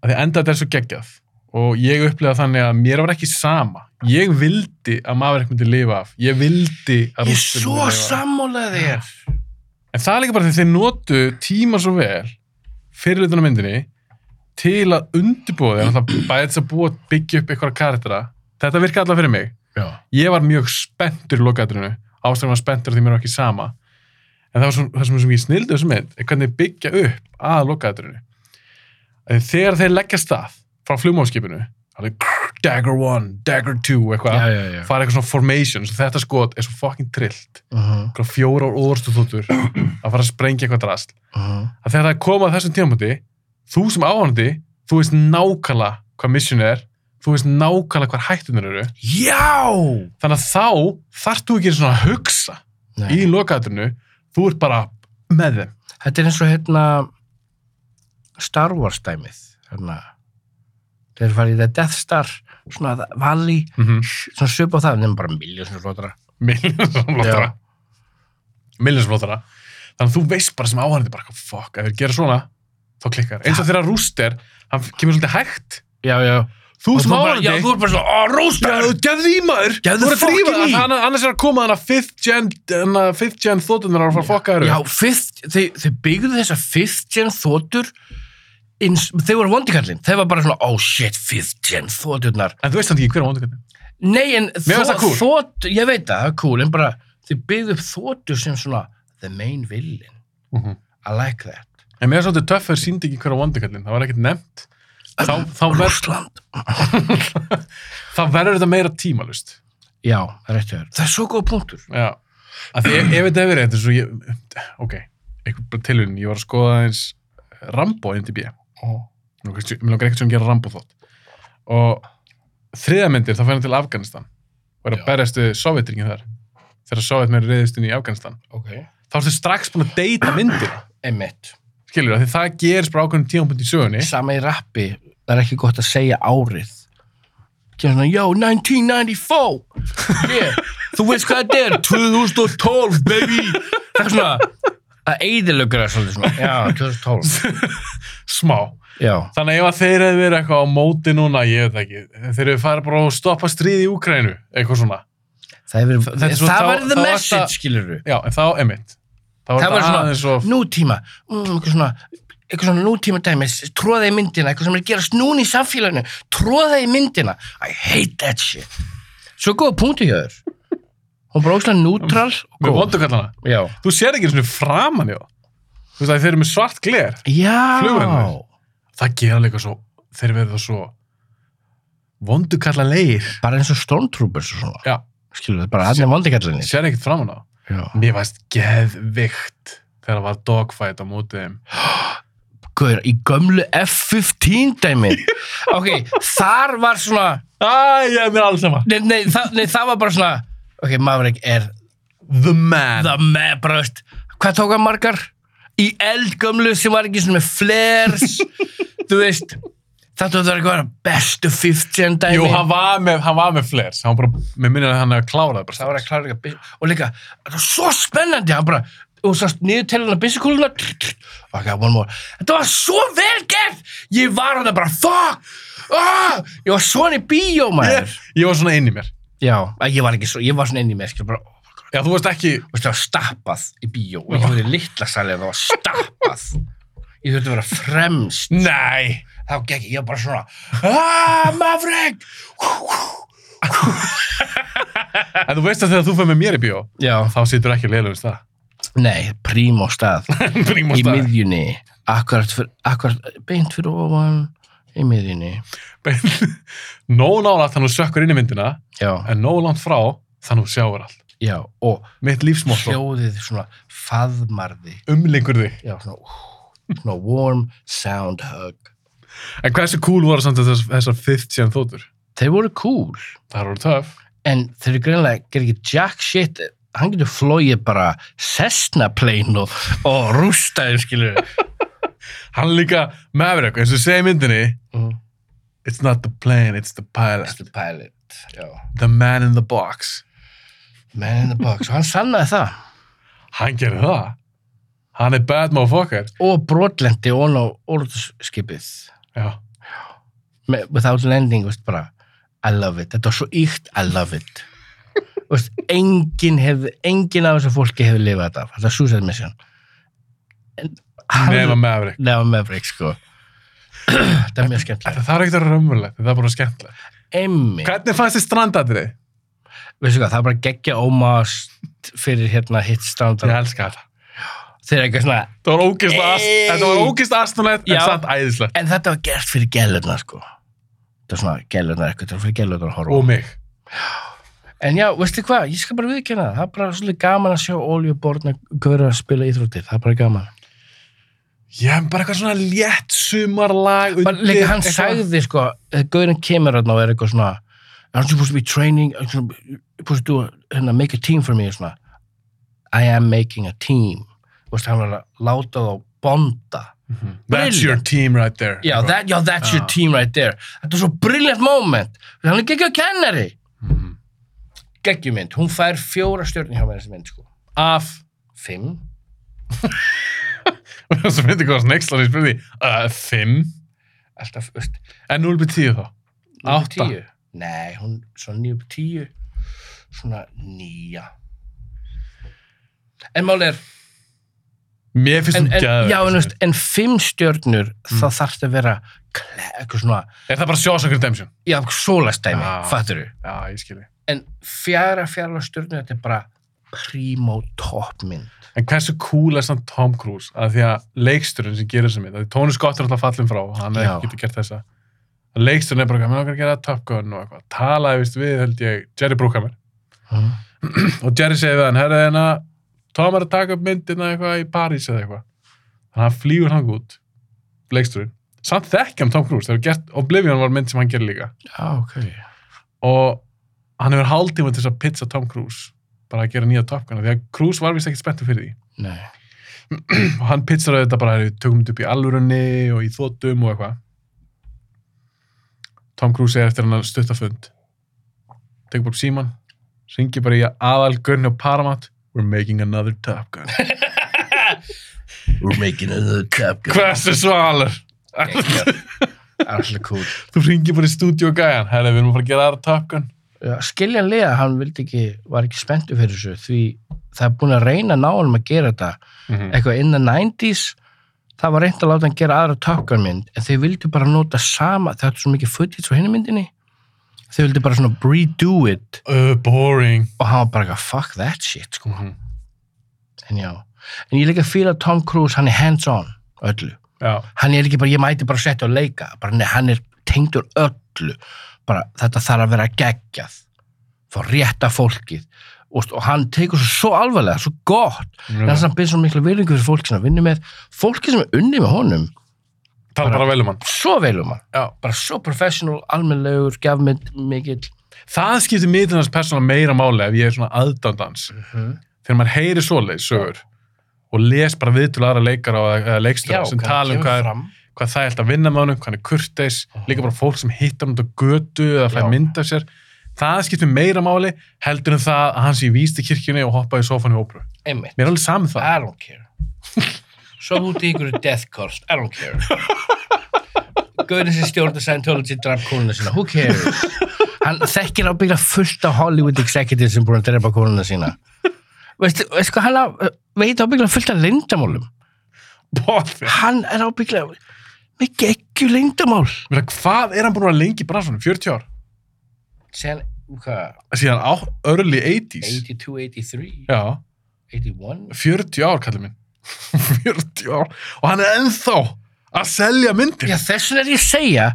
Speaker 1: Að því enda þetta er svo geggjað. Og ég upplega þannig að mér var ekki sama. Ég vildi að maður myndi lifa af. Ég vildi að
Speaker 2: ég er
Speaker 1: rústir
Speaker 2: svo sammálaði þér
Speaker 1: En það er líka bara því að þeir notu tíma svo vel fyrir utan á myndinni til að undirbúa þeir alltaf bæði þess að búa byggja upp eitthvað karaktera. Þetta virka alltaf fyrir mig.
Speaker 2: já,
Speaker 1: Ég var mjög spenntur í lokaðrinu. Ástæðan var spenntur því mér var ekki sama. En það, var svo, það sem, sem ég snildi þessu mynd er hvernig þeir byggja upp að lokaðrinu. Þegar þeir leggja stað frá flugmáfskipinu, alveg dagger one, dagger two,
Speaker 2: já,
Speaker 1: eitthvað,
Speaker 2: já, já.
Speaker 1: fara eitthvað svona formation, svo þetta skot er svo fucking trillt
Speaker 2: Uh -huh,
Speaker 1: eitthvað fjórar orðstu þúttur að fara að sprengja eitthvað drast
Speaker 2: uh -huh.
Speaker 1: að þegar það kom að þessum tímapunkti þú sem áhandi, þú veist nákvæmlega hvað missionið er, þú veist nákvæmlega hvað hættunir eru,
Speaker 2: já!
Speaker 1: þannig að þá þarft þú ekki einu svona að hugsa í
Speaker 2: Nei.
Speaker 1: lokaðaturinu, þú ert bara með þeim.
Speaker 2: þetta er eins og hérna Star Wars dæmið hérna þeir farið í það Death Star svona vali,
Speaker 1: Mm -hmm.
Speaker 2: svona svipa á það nefnum bara miljósinu flotara
Speaker 1: Miljónsflótara Miljónsflotara. þannig að þú veist bara sem áhandi bara, fuck, ef þeir gera svona þá klikkar, eins og þegar rúster hann kemur svolítið hægt,
Speaker 2: já, já,
Speaker 1: þú
Speaker 2: og
Speaker 1: sem
Speaker 2: þú bara,
Speaker 1: áhandi
Speaker 2: já, þú er bara svona, ó,
Speaker 1: Já,
Speaker 2: rústar
Speaker 1: gefðu í maður
Speaker 2: Gefðu
Speaker 1: Þú voru að
Speaker 2: fucking
Speaker 1: drífa
Speaker 2: í.
Speaker 1: það, anna- Annars er að koma þannig að fifth gen hana, Fifth gen þóttunar að fara að fokka þér
Speaker 2: Já,
Speaker 1: upp.
Speaker 2: fifth, þeir, þeir byggðu þessa fifth gen þóttur eins, þeir voru vondikallin, þeir var bara svona oh shit, fifth gen þótturnar
Speaker 1: En þú veist hann ekki hver á vondugöndin
Speaker 2: Nei, en
Speaker 1: fannst það cool.
Speaker 2: þótt, ég veit það, það er cool en bara, þeir byggðu upp þóttur sem svona the main villain, I like that
Speaker 1: En mér er svolítið töffur síndi ekki hver á vondugöndin Það var ekkert nefnt Þá, þá, ver,
Speaker 2: Rússland
Speaker 1: þá verður þetta meira tímalust
Speaker 2: Já, réttu þér, það er svo góð punktur
Speaker 1: Já Af Því ef, ef þetta hefur verið þetta er svo ég, Ok, einhver bara tilhjörn Ég var að skoða eins Rambo NDB
Speaker 2: oh.
Speaker 1: Mér langar- mér langar ekkert sem að gera Rambo þótt Og þriða myndir þá fær hann til Afganistan Og er að
Speaker 2: Já.
Speaker 1: berjast við Sovjetringin þar Þegar Sovjetmenn reyðist inn í Afganistan
Speaker 2: Ok
Speaker 1: þá ertu strax búin að deyta myndina
Speaker 2: Einmitt,
Speaker 1: skilur það, því það gerist bara ákveðin tímapunkt í sögunni
Speaker 2: sama í rappi það er ekki gott að segja árið kemur svona, já, 1994
Speaker 1: <laughs>
Speaker 2: yeah, þú veist hvað þetta er 2012, baby það er svona, það eiðilögur það svolítið svona, já, 2012
Speaker 1: <laughs> smá,
Speaker 2: já,
Speaker 1: þannig ef að þeir hefðu verið eitthvað á móti núna, ég veit það ekki þeir hefðu farið bara og stoppa stríð í Úkrænu eitthvað svona,
Speaker 2: það er
Speaker 1: Þetta er
Speaker 2: verið
Speaker 1: svo-
Speaker 2: það
Speaker 1: þá-
Speaker 2: var
Speaker 1: þá
Speaker 2: the
Speaker 1: var
Speaker 2: message,
Speaker 1: það-
Speaker 2: skilur við
Speaker 1: já, en þá emitt þá var
Speaker 2: það var
Speaker 1: þetta
Speaker 2: svona,
Speaker 1: aðeins og
Speaker 2: nútíma mm, eitthvað svona eitthvað svona nútíma dæmi, tróða í myndina eitthvað sem er að gerast núna í samfélaginu tróða í myndina, I hate that shit svo góða punktu hjá þér hún er bara óslega nútral og
Speaker 1: með
Speaker 2: góð
Speaker 1: vondukallana,
Speaker 2: Já.
Speaker 1: þú sér ekki svona framan í það þú veist að þeir eru með svart gler
Speaker 2: Já.
Speaker 1: Flugvélarnar. það gera líka svo, þeir verða svo vondukalla leir
Speaker 2: Bara eins og Stormtroopers og svona.
Speaker 1: Já.
Speaker 2: Skilur það, bara aðnir vandikallinni.
Speaker 1: sér ekkert framan á,
Speaker 2: Já.
Speaker 1: mér veist geðvikt þegar það var dogfight á móti þeim
Speaker 2: Guður, í gömlu F-15 dæmi. ok, þar var svona,
Speaker 1: Æ, ég er mér alls sama
Speaker 2: nei, nei, það, nei, það var bara svona, ok, Maverick er
Speaker 1: The man
Speaker 2: það með, bara veist, hvað tók hann margar? Í eldgömlu sem var ekki svona með <laughs> flares, þú veist, þetta var eitthvað að vera bestu 15 dæmi.
Speaker 1: Jú, hann var með, hann var með flares, hann var bara, mér minnir að hann hefði klárað það bara.
Speaker 2: það var að klára líka bys- og líka, þetta var svo spennandi hann bara, og sást niður til hann að byssukúluna ok, one more þetta var svo vel gert ég var hann bara, fuck ah! ég var svona í bíó maður
Speaker 1: Ég, ég var svona inn í mér.
Speaker 2: já, að ég var ekki svo, ég var svona inn í mér skil, bara, oh my God.
Speaker 1: Já, þú veist ekki,
Speaker 2: Þú veist, það var stappað í bíó og ég var í litla salið og það var stappað ég þurfti að vera fremst
Speaker 1: nei,
Speaker 2: þá gekk ég, ég var bara svona "Ah, aaaah, mafreg
Speaker 1: en þú veist að þegar þú fyrir með mér í bíó,
Speaker 2: já,
Speaker 1: þá situr ekki leiðlega um stað.
Speaker 2: nei, prím á stað
Speaker 1: Prímum
Speaker 2: í
Speaker 1: stað.
Speaker 2: miðjunni akkurat, fyr, akkurat beint fyrir ofan í miðjunni
Speaker 1: Bein- Nóg nálaðt þannig að þú sökkur inn í myndina,
Speaker 2: já,
Speaker 1: en nóg langt frá þannig að þú sjáur allt.
Speaker 2: já, og
Speaker 1: Mitt lífsmótt
Speaker 2: hljóðið svona faðmarði
Speaker 1: umlingur þig.
Speaker 2: já, svona, úh, svona warm sound hug
Speaker 1: En hversu cool voru samt þess, þessar 50 þóttur?
Speaker 2: Þeir voru cool,
Speaker 1: Það voru töff.
Speaker 2: en þeir eru greinlega, gerir ekki jack shit, hann getur flóið bara Cessna plane og, og rústaðum, skilur við.
Speaker 1: Hann er líka Maverick, eins og segja í myndinni
Speaker 2: Mm.
Speaker 1: It's not the plane, it's the pilot.
Speaker 2: Mr. Pilot, já.
Speaker 1: The man in the box.
Speaker 2: Man in the box, og hann sannaði það.
Speaker 1: Hann gerir það. Hann er bad motherfucker.
Speaker 2: Og brotlendi ón á orðskipið.
Speaker 1: Já.
Speaker 2: Me- Without landing, veist bara, I love it. Þetta var svo íkt, I love it. <laughs> veist, engin hefði, engin af þessu fólki hefði lifað þetta. Þetta er suicide mission. En,
Speaker 1: Nefna Maverick.
Speaker 2: Nefna Maverick, sko. <clears throat> þetta er mjög skemmtilegt.
Speaker 1: Þetta þarf ekki að vera raunverulegt, það er bara skemmtilegt.
Speaker 2: Emmi,
Speaker 1: Hvernig fannst þið strandatrið?
Speaker 2: veistu hvað, það er bara geggja ómast fyrir hérna hitt
Speaker 1: Ég
Speaker 2: strandar.
Speaker 1: elska þetta.
Speaker 2: Þeir eru eitthvað svona,
Speaker 1: Það var ógist ast,
Speaker 2: Ey!
Speaker 1: þetta var ógist astnulegt, en
Speaker 2: Já.
Speaker 1: samt æðislegt.
Speaker 2: en þetta var gert fyrir gælurnar, sko. Þetta er svona gælurnar eitthvað, þetta var fyrir gælurnar að horfa.
Speaker 1: Og mig.
Speaker 2: En já, veistu hvað, ég skal bara viðkynna það. Það er bara svolítið gaman að sjá oljuborna góður að spila íþróttir. Það er bara gaman.
Speaker 1: Ég hef bara eitthvað svona létt sumarlag
Speaker 2: Bara líka hann
Speaker 1: eitthvað-
Speaker 2: sagði, sko, góðurinn kemur hérna og er eitthvað svona Aren't you supposed to be training? Aren't you supposed to do a, hérna, make a team for me? Svona, I am making a team. Veistu, hann var að láta þá bonda.
Speaker 1: Mhm. That's your team right there.
Speaker 2: Já,
Speaker 1: Eitthvað.
Speaker 2: that, já that's your
Speaker 1: Já.
Speaker 2: team right there. Þetta er svo brilliant moment. Hann er geggjum kennari.
Speaker 1: Mhm.
Speaker 2: Geggjum mynd. Hún fær fjóra stjörnir hjá mér þessi mynd, sko.
Speaker 1: Af
Speaker 2: Fimm.
Speaker 1: <laughs> Svo myndi hvað sneggslan í spurði uh, Fimm
Speaker 2: Alltaf, veist,
Speaker 1: En 0 byrð 10 þá Átta.
Speaker 2: 10? Nei, hún svona 9 upp 10 svona 9 En mál er
Speaker 1: Mér finnst
Speaker 2: en,
Speaker 1: hún
Speaker 2: en,
Speaker 1: gæður
Speaker 2: já, en, veist, en 5 stjörnur þá þarf það að vera kle- eitthvað svona,
Speaker 1: Er það bara Shawshank Redemption?
Speaker 2: já, sólastæmi
Speaker 1: Já.
Speaker 2: fattur við,
Speaker 1: Já, ég skilji
Speaker 2: en fjara fjara stjörnur, þetta er bara primo toppmynd
Speaker 1: En hversu cool er samt Tom Cruise að því að leiksturinn sem gerir sem mitt að því Tony Scott er alltaf fallin frá hann er
Speaker 2: Já.
Speaker 1: ekki gert þessa leiksturinn er bara eitthvað, mér okkar að gera Top Gun og eitthvað talaði vist við, held ég, Jerry Bruckheimer
Speaker 2: mm.
Speaker 1: og Jerry segi við hann, herðu hérna Tom er að taka upp myndina eitthvað í París eða eitthvað þannig að hann flýgur hann út leiksturinn, samt þekkja hann Tom Cruise þegar gert, Oblivion var mynd sem hann gerir líka
Speaker 2: Já, ok
Speaker 1: og hann hefur hálftíma til þess að pitcha Tom Cruise bara að gera nýja Top Gun af því að Cruise var vist ekki spenntur fyrir því
Speaker 2: Nei,
Speaker 1: og hann pitsar auðvitað bara við tökum þetta upp í alvörunni og í þótum og eitthvað Tom Cruise er eftir hann að stutta fund tekur bara upp síman ringi bara í aðal Gunni og Paramount we're making another Top <laughs> Gun
Speaker 2: we're making another top gun
Speaker 1: hversu svalur
Speaker 2: Alltaf cool
Speaker 1: þú ringi bara í stúdíu og gæjan herri við erum að fara að gera aðra Top Gun
Speaker 2: Já, skiljanlega hann vildi ekki, var ekki spenntu fyrir þessu því það er búin að reyna náðum að gera þetta
Speaker 1: Mhm.
Speaker 2: eitthvað in the 90s það var reynd að láta hann gera aðra Top Gun mynd en þau vildu bara nota sama þau hattu svo mikið footage á henni myndinni þau vildu bara svona redo it
Speaker 1: uh, boring
Speaker 2: og hann var bara eitthvað fuck that shit sko.
Speaker 1: Mhm.
Speaker 2: en já, en ég líka fíla að Tom Cruise hann er hands on öllu
Speaker 1: já,
Speaker 2: hann er ekki bara, ég mæti bara að setja og leika bara nei, hann er tengdur öllu bara þetta þarf að vera geggjað fá rétta fólkið og, og hann tekur svo, svo alvarlega, svo gott
Speaker 1: Mm.
Speaker 2: en þess að hann byrði svo miklu viljingu fyrir fólki sem hann vinnur með fólki sem er unni með honum
Speaker 1: tala bara vel um hann
Speaker 2: svo velum hann,
Speaker 1: já.
Speaker 2: bara svo professional, almennlegur, gefmynd mikill
Speaker 1: það skiptir mitin hans persóna meira máli ef ég er svona aðdandans þegar maður heyri svoleiðs sögur og les bara viðtölu aðra leikara og- eða leikstöra sem tala um hvað, er, hvað það er alltaf að vinna með honum, hvað hann er kurteis,
Speaker 2: Mhm.
Speaker 1: líka bara fólk sem hittar hann út á götu eða fær
Speaker 2: Já.
Speaker 1: mynd af sér. Það skiptir meira máli heldur en það að hann sé í víst í kirkjunni og hoppa í sofan í óperu.
Speaker 2: einmitt,
Speaker 1: Mér er alveg saman það.
Speaker 2: I don't care svo húti ykkur í death course, I don't care Gaurin sem stjórna Scientology draf konuna sína, who cares hann þekkir ábyggla fullt af Hollywood executives sem búin að drepa konuna sína veistu, veistu hvað hann á- veit ábyggla fullt af lindamálum
Speaker 1: Bóði.
Speaker 2: hann er ábyggla með geggju lindamál
Speaker 1: Mér er hvað er hann búin að vera lengi í bransunum? 40 ár?
Speaker 2: sen, hvað,
Speaker 1: Síðan á early 80s.
Speaker 2: 82, 83
Speaker 1: Já,
Speaker 2: 81
Speaker 1: 40 ár kallir minn. <laughs> 40 ár. Og hann er ennþá að selja myndir.
Speaker 2: Já, þess vegna er ég að segja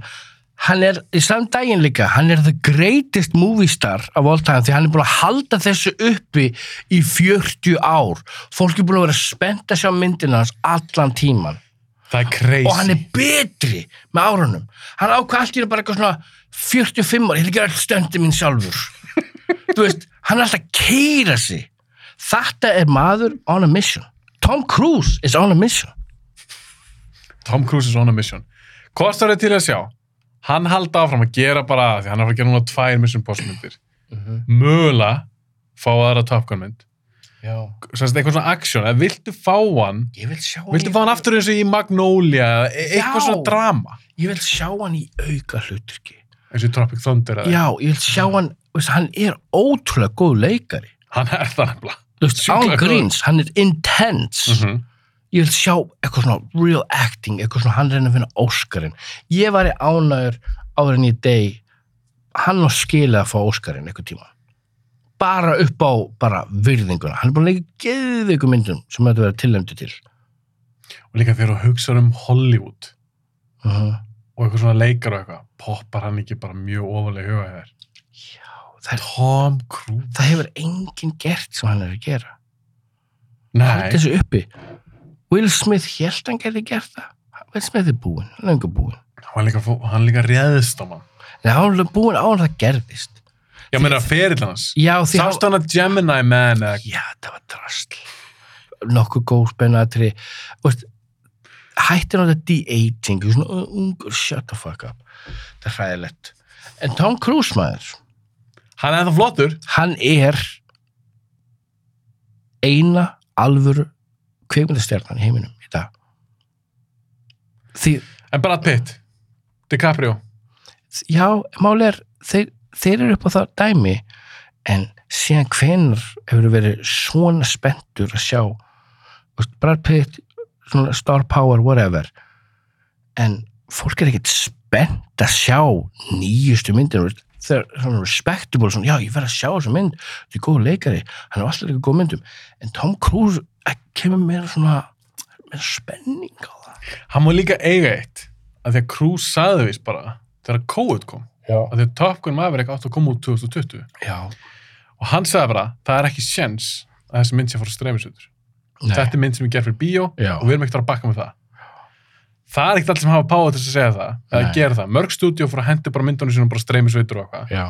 Speaker 2: hann er, í saman daginn líka hann er the greatest movie star af all time því hann er búin að halda þessu uppi í 40 ár fólk er búin að vera spennt að sjá myndina hans allan tíman
Speaker 1: Það er crazy.
Speaker 2: og hann er betri með árunum hann ákvað allt í það bara eitthvað svona 45 ára, ég ætla að gera all stöndi mín sjálfur þú veist, hann er alltaf að keira sig þetta er maður on a mission Tom Cruise is on a mission
Speaker 1: Tom Cruise is on a mission. Kostar þetta til að sjá. Hann halda áfram að gera bara að því hann er að fara að gera núna tvær Mission Impossible myndir.
Speaker 2: Mhm.
Speaker 1: Mögulega fá aðra Top Gun mynd.
Speaker 2: já,
Speaker 1: Sannst eitthvað svona action. Eða viltu fá hann,
Speaker 2: ég vil sjá
Speaker 1: viltu
Speaker 2: í-
Speaker 1: fá hann aftur eins og í Magnolia eða e- eitthvað
Speaker 2: Já.
Speaker 1: svona drama.
Speaker 2: ég vil sjá hann í auka hluturki
Speaker 1: Eins og í Tropic Thunder eða.
Speaker 2: já, ég vil
Speaker 1: Mm.
Speaker 2: sjá hann þú veist, hann er ótrúlega góð leikari
Speaker 1: Hann er það nefnilega.
Speaker 2: Þú veist,
Speaker 1: Sjúklega
Speaker 2: án
Speaker 1: góður.
Speaker 2: gríns, hann er intense
Speaker 1: Mm -hmm.
Speaker 2: ég vil sjá eitthvað svona real acting, eitthvað svona hann reyna að finna Óskarinn. Ég var í ánægur áður en í deg, hann á skilið að fá Óskarinn eitthvað tíma. Bara upp á bara virðinguna. Hann er búin að leika í geðveikum myndum sem þetta verið tilnæmdi til.
Speaker 1: Og líka þegar þú hugsar um Hollywood
Speaker 2: Uh -huh.
Speaker 1: og eitthvað svona leikar og eitthvað, poppar hann ekki bara mjög ofalega huga í þér.
Speaker 2: það, er,
Speaker 1: Tom Cruise.
Speaker 2: það hefur enginn gert sem hann er að gera.
Speaker 1: Nei,
Speaker 2: Hald þessu uppi. Will Smith held hann gerði gert það. Will Smith er búinn, löngu búinn.
Speaker 1: hann líka, fó- hann líka réðist á mann.
Speaker 2: Það er búinn á hann það gerðist.
Speaker 1: Ég meina ferill hans.
Speaker 2: Já, því hann-
Speaker 1: Sást hann að Gemini Man eða
Speaker 2: Já, þetta var drasl. Nokkuð góð spennatri. Hættir á þetta de-aging, þú svona uh, ungur, shut the fuck up. Það er hræðilegt. En Tom Cruise maður,
Speaker 1: hann er það flottur
Speaker 2: hann er eina alvöru kveikmyndastjarnan í heiminum í dag. Því,
Speaker 1: en Brad Pitt, DiCaprio
Speaker 2: já, máli er, þeir, þeir eru upp á það dæmi, en síðan hvenar hefur verið svona spenntur að sjá þú veist, Brad Pitt, svona star power, whatever en fólk er ekkert spennt að sjá nýjustu myndinu þeir eru svona respectable, svona, já, ég verð að sjá þessu mynd, þetta er góð leikari hann er alltaf líka góð myndum, en Tom Cruise eh, kemur meira svona meira spenning á það
Speaker 1: hann má líka eiga eitt að því að Cruise sagði vist bara þegar COVID kom,
Speaker 2: já,
Speaker 1: að því að Top Gun Maverick átt að koma út 2020
Speaker 2: já
Speaker 1: og hann sagði bara, það er ekki sjens að þessi mynd sé að fara streymisöldur
Speaker 2: Nei.
Speaker 1: þetta er mynd sem ég gerð fyrir bíó
Speaker 2: Já.
Speaker 1: og við erum ekkert að bakka með það það er ekkert allir sem hafa páa til þess að segja það eða
Speaker 2: Nei.
Speaker 1: gera það, mörg stúdíó fór að hendi bara myndunum sínum bara streymisveitur og eitthvað
Speaker 2: já,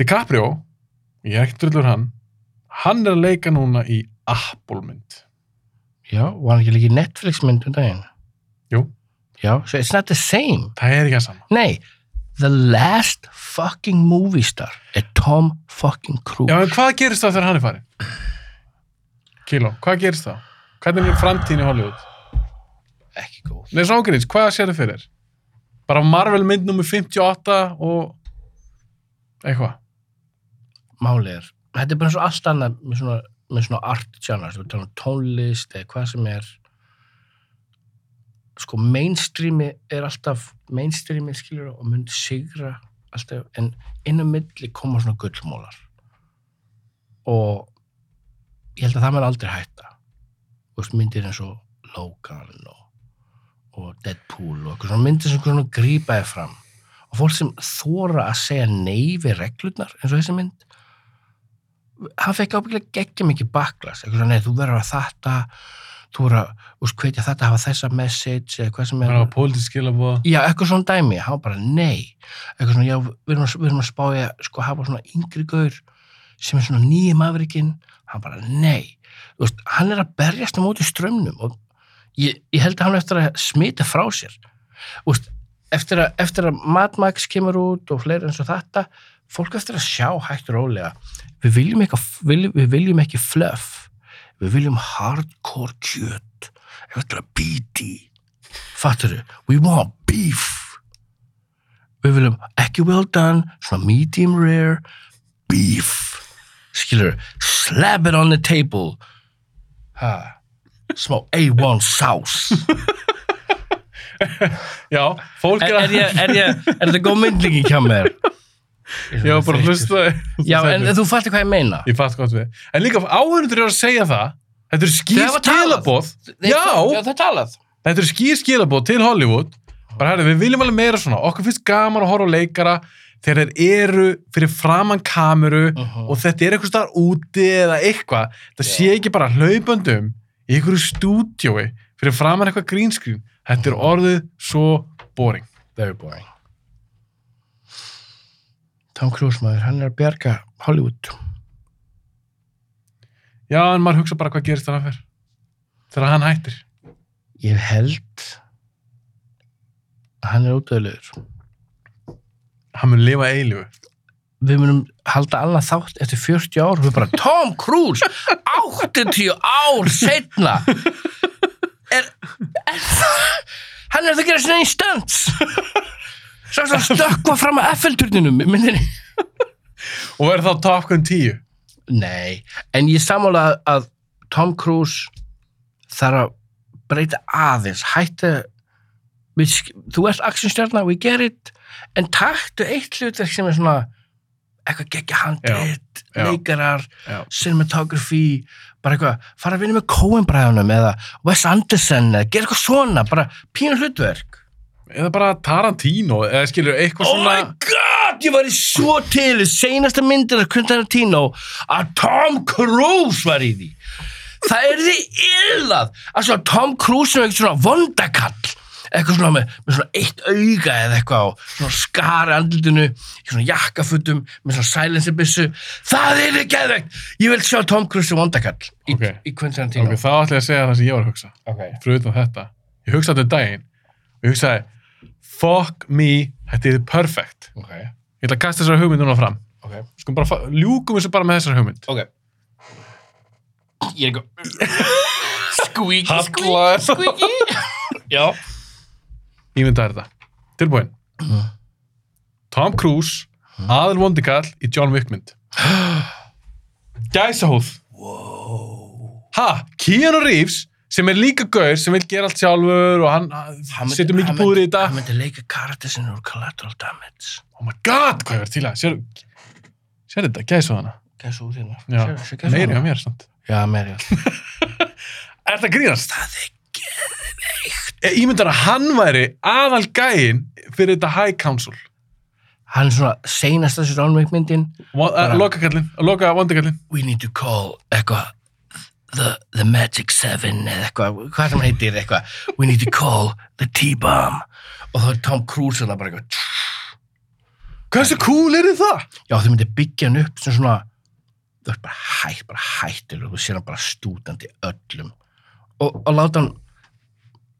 Speaker 1: DiCaprio, ég er ekkert drullur hann hann er að leika núna í Apple mynd
Speaker 2: já, var hann ekki líka í Netflix mynd um daginn
Speaker 1: Jú.
Speaker 2: já, so it's not the same
Speaker 1: það er ekki að sama
Speaker 2: Nei, the last fucking movie star er Tom fucking Cruise.
Speaker 1: Já, en hvað gerist það þegar hann er farin? Kíló, hvað gerist það? Hvernig er framtíðin í Hollywood?
Speaker 2: Ekki góð.
Speaker 1: Nei, svo ágríns, hvað sér þið fyrir? Bara Marvel mynd nummer 58 og eitthvað.
Speaker 2: Málið er, þetta er bara eins og allt annað með svona, með svona art genres, við tala um tónlist eða hvað sem er sko mainstreami er alltaf mainstreami skilur og mun sigra alltaf, en inn á milli koma svona gullmólar og ég held að það mér aldrei hætta Þú veist, myndir eins og Logan og, og Deadpool og eitthvað svona myndir sem svona grípaði fram og fólk sem þóra að segja nei við reglurnar eins og þessi mynd hann fekk ábyggilega geggja mikið baklas eitthvað svona, nei, þú verður að þetta þú verður að, úst, hvetja þetta hafa þessa message eða hvað sem
Speaker 1: Það
Speaker 2: er
Speaker 1: er að pólitísk skilabóða.
Speaker 2: Já, eitthvað svona dæmi, hann var bara nei eitthvað svona, já, við erum að, við erum að spá í að sko hafa svona yngri gaur sem er svona nýja mafrikinn hann bara nei, þú veist, hann er að berjast á móti strömmnum og ég, ég held að hann er eftir að smita frá sér þú veist, eftir að, eftir að Mad Max kemur út og fleiri eins og þetta fólk eftir að sjá hægt og rólega við viljum ekki, viljum, við viljum ekki fluff við viljum hardcore kjöt eftir að bíti fattur þau, we want beef við viljum ekki well done, svona medium rare beef skilur, slap it on the table ha smá A1 sauce
Speaker 1: Já, fólk
Speaker 2: <laughs> er,
Speaker 1: er
Speaker 2: er,
Speaker 1: að...
Speaker 2: ég, er, ég, er þetta góð myndlingi hjá mér
Speaker 1: Ég var bara að hlusta.
Speaker 2: já, en þú fattir hvað ég meina
Speaker 1: Ég fatt gott við. En líka áhörundur er að segja það. Þetta eru skýr
Speaker 2: Þeir hafa talað.
Speaker 1: skilabóð.
Speaker 2: Nei, það-
Speaker 1: Já,
Speaker 2: það er talað
Speaker 1: Þetta eru skýr skilabóð til Hollywood bara herri, við viljum alveg meira svona okkur finnst gaman að horfa á leikara þegar þeir eru fyrir framann kameru
Speaker 2: Uh-huh.
Speaker 1: og þetta er eitthvað starf úti eða eitthvað, það
Speaker 2: Já.
Speaker 1: sé ekki bara hlaupandum í einhverju stúdjói fyrir framan eitthvað grínskrín þetta er orðið svo boring
Speaker 2: Very boring. Tom Cruise maður, hann er að bjarga Hollywood.
Speaker 1: já en maður hugsa bara hvað gerist þannig að fer þegar hann hættir
Speaker 2: Ég held að hann er ódöðlegur.
Speaker 1: hann mun lifa eilífu
Speaker 2: Við munum halda annað þátt eftir 40 ár og við bara Tom Cruise 80 ár setna er, er það hann er það að gera sinna í stönds svo að stökkva fram að Eiffelturninum í myndinni
Speaker 1: og verður þá Top Gun 10
Speaker 2: Nei, en ég samála að, að Tom Cruise þarf að breyta aðeins, hætta við, sk- þú ert actionstjarnar, we get it en taktu eitt hlutverk sem er svona eitthvað geggja handrit,
Speaker 1: Já, já.
Speaker 2: leikarar
Speaker 1: Já.
Speaker 2: cinematography bara eitthvað, fara að vinna með Coen bræðunum eða Wes Anderson, eða gera eitthvað svona bara pínu hlutverk
Speaker 1: eða bara Tarantino eða skilur eitthvað
Speaker 2: Oh
Speaker 1: svona
Speaker 2: my god, ég var í svo til í seinasta myndir af Quentarantino að Tom Cruise var í því það er því illað að svo Tom Cruise er eitthvað svona vondakall eitthvað svona með, með svona eitt auga eða eitthvað og svona skari andlutinu í svona jakkafutum með svona silencerbissu það er því geðvegt ég vil sjá Tom Cruise sem vondakall í,
Speaker 1: Ok.
Speaker 2: í Quentarantino
Speaker 1: okay, þá ætla ég að segja það sem ég var að hugsa
Speaker 2: okay.
Speaker 1: fyrir utan þetta ég hugsaði þetta um daginn og ég hugsaði fuck me, þetta er perfect
Speaker 2: Okay.
Speaker 1: ég ætla að kasta þessar hugmynd núna fram
Speaker 2: Okay.
Speaker 1: skum bara fa- ljúkum þessu bara með þessar hugmynd
Speaker 2: Ok Ég er eitthvað Squeaky,
Speaker 1: Hallar. <laughs>
Speaker 2: squeaky Já
Speaker 1: ég mynda þetta, tilbúin Tom Cruise aðal vondikall í John Wick mynd gæsahúð ha, Keanu Reeves sem er líka gaur sem vil gera allt sjálfur og hann, hann setur mikið búður í þetta
Speaker 2: Hann myndi leika karakter sinni úr collateral damage
Speaker 1: oh my god, hvað ég verið til að sér, sér þetta, gæsahúðana
Speaker 2: Gæs úr hérna. þínu
Speaker 1: Já, meiri á mér samt.
Speaker 2: Já, meiri að
Speaker 1: Er það grínast?
Speaker 2: Það er
Speaker 1: Ég myndar að hann væri aðal gæin fyrir þetta High Council.
Speaker 2: Hann er svona seinast þessu ránveikmyndin Bara-
Speaker 1: Lokakallin, eh, loka vandakallin.
Speaker 2: We need to call eitthvað The, the Magic Seven eða eitthvað, hvað sem heitir eitthvað We need to call the T-Bomb og þá er Tom Cruise hann bara eitthvað
Speaker 1: Hversu cool er það?
Speaker 2: Já, þau myndi byggja hann upp sem svona, þú ert bara hætt, bara hættileg og sér hann bara stútandi öllum. Og, og láta hann,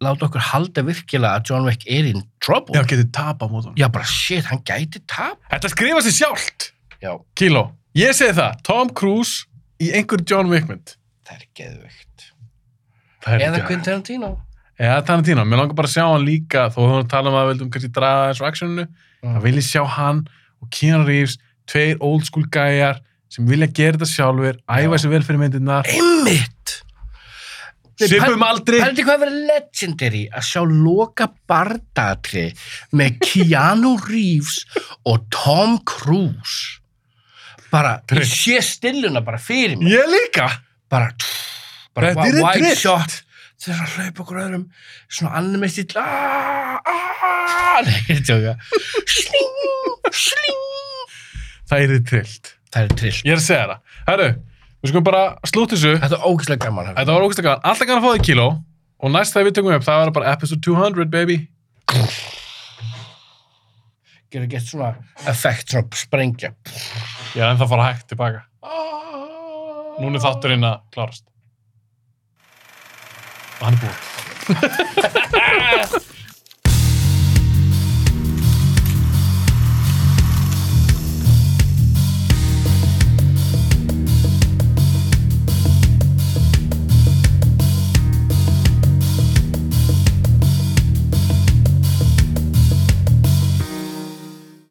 Speaker 2: láta okkur halda virkilega að John Wick er in trouble.
Speaker 1: Já, getur tapa á mótum.
Speaker 2: Já, bara shit, hann gæti tap.
Speaker 1: Þetta skrifa sér sjálft.
Speaker 2: Já,
Speaker 1: Kíló, ég segi það. Tom Cruise í einhver John Wick mynd.
Speaker 2: það er geðvögt.
Speaker 1: Það er
Speaker 2: Eða
Speaker 1: ekki-
Speaker 2: Quentin Tarantino.
Speaker 1: Eða Tarantino. Mér langar bara að sjá hann líka, þó þú tala um að við vildum kannski draga þessu actioninu.
Speaker 2: Mm.
Speaker 1: Það vil ég sjá hann og Keanu Reeves, tveir old school gæjar sem vilja gera þetta sjálfur, æfa
Speaker 2: Já.
Speaker 1: sér vel fyrir myndirnar,
Speaker 2: Einmitt!
Speaker 1: svipum aldrei.
Speaker 2: Pældi hvað verið legendary að sjá loka bardatri með Keanu Reeves og Tom Cruise. Bara, ég
Speaker 1: Trygg.
Speaker 2: sé stilluna bara fyrir mig.
Speaker 1: Ég líka.
Speaker 2: bara, bara
Speaker 1: Þetta er
Speaker 2: wide
Speaker 1: drifft.
Speaker 2: shot þeir eru að hlaupa okkur öðrum svona Ah, animist í ah. <laughs> tjóka sling, sling
Speaker 1: Það er þið trillt.
Speaker 2: það er trill
Speaker 1: Ég er að segja það. Herru, við skulum bara slútt þessu.
Speaker 2: þetta er ógeðslega gaman hefur.
Speaker 1: Þetta var ógæslega gaman. Alltaf gaman að fá þig kíló. Og næst þegar við tökum upp, það verður bara episode 200, baby.
Speaker 2: getur gett svona effekt, svona sprengja
Speaker 1: Ég er ennþá að fara hægt tilbaka. Núna er þátturinn að klárast. Og hann er búinn.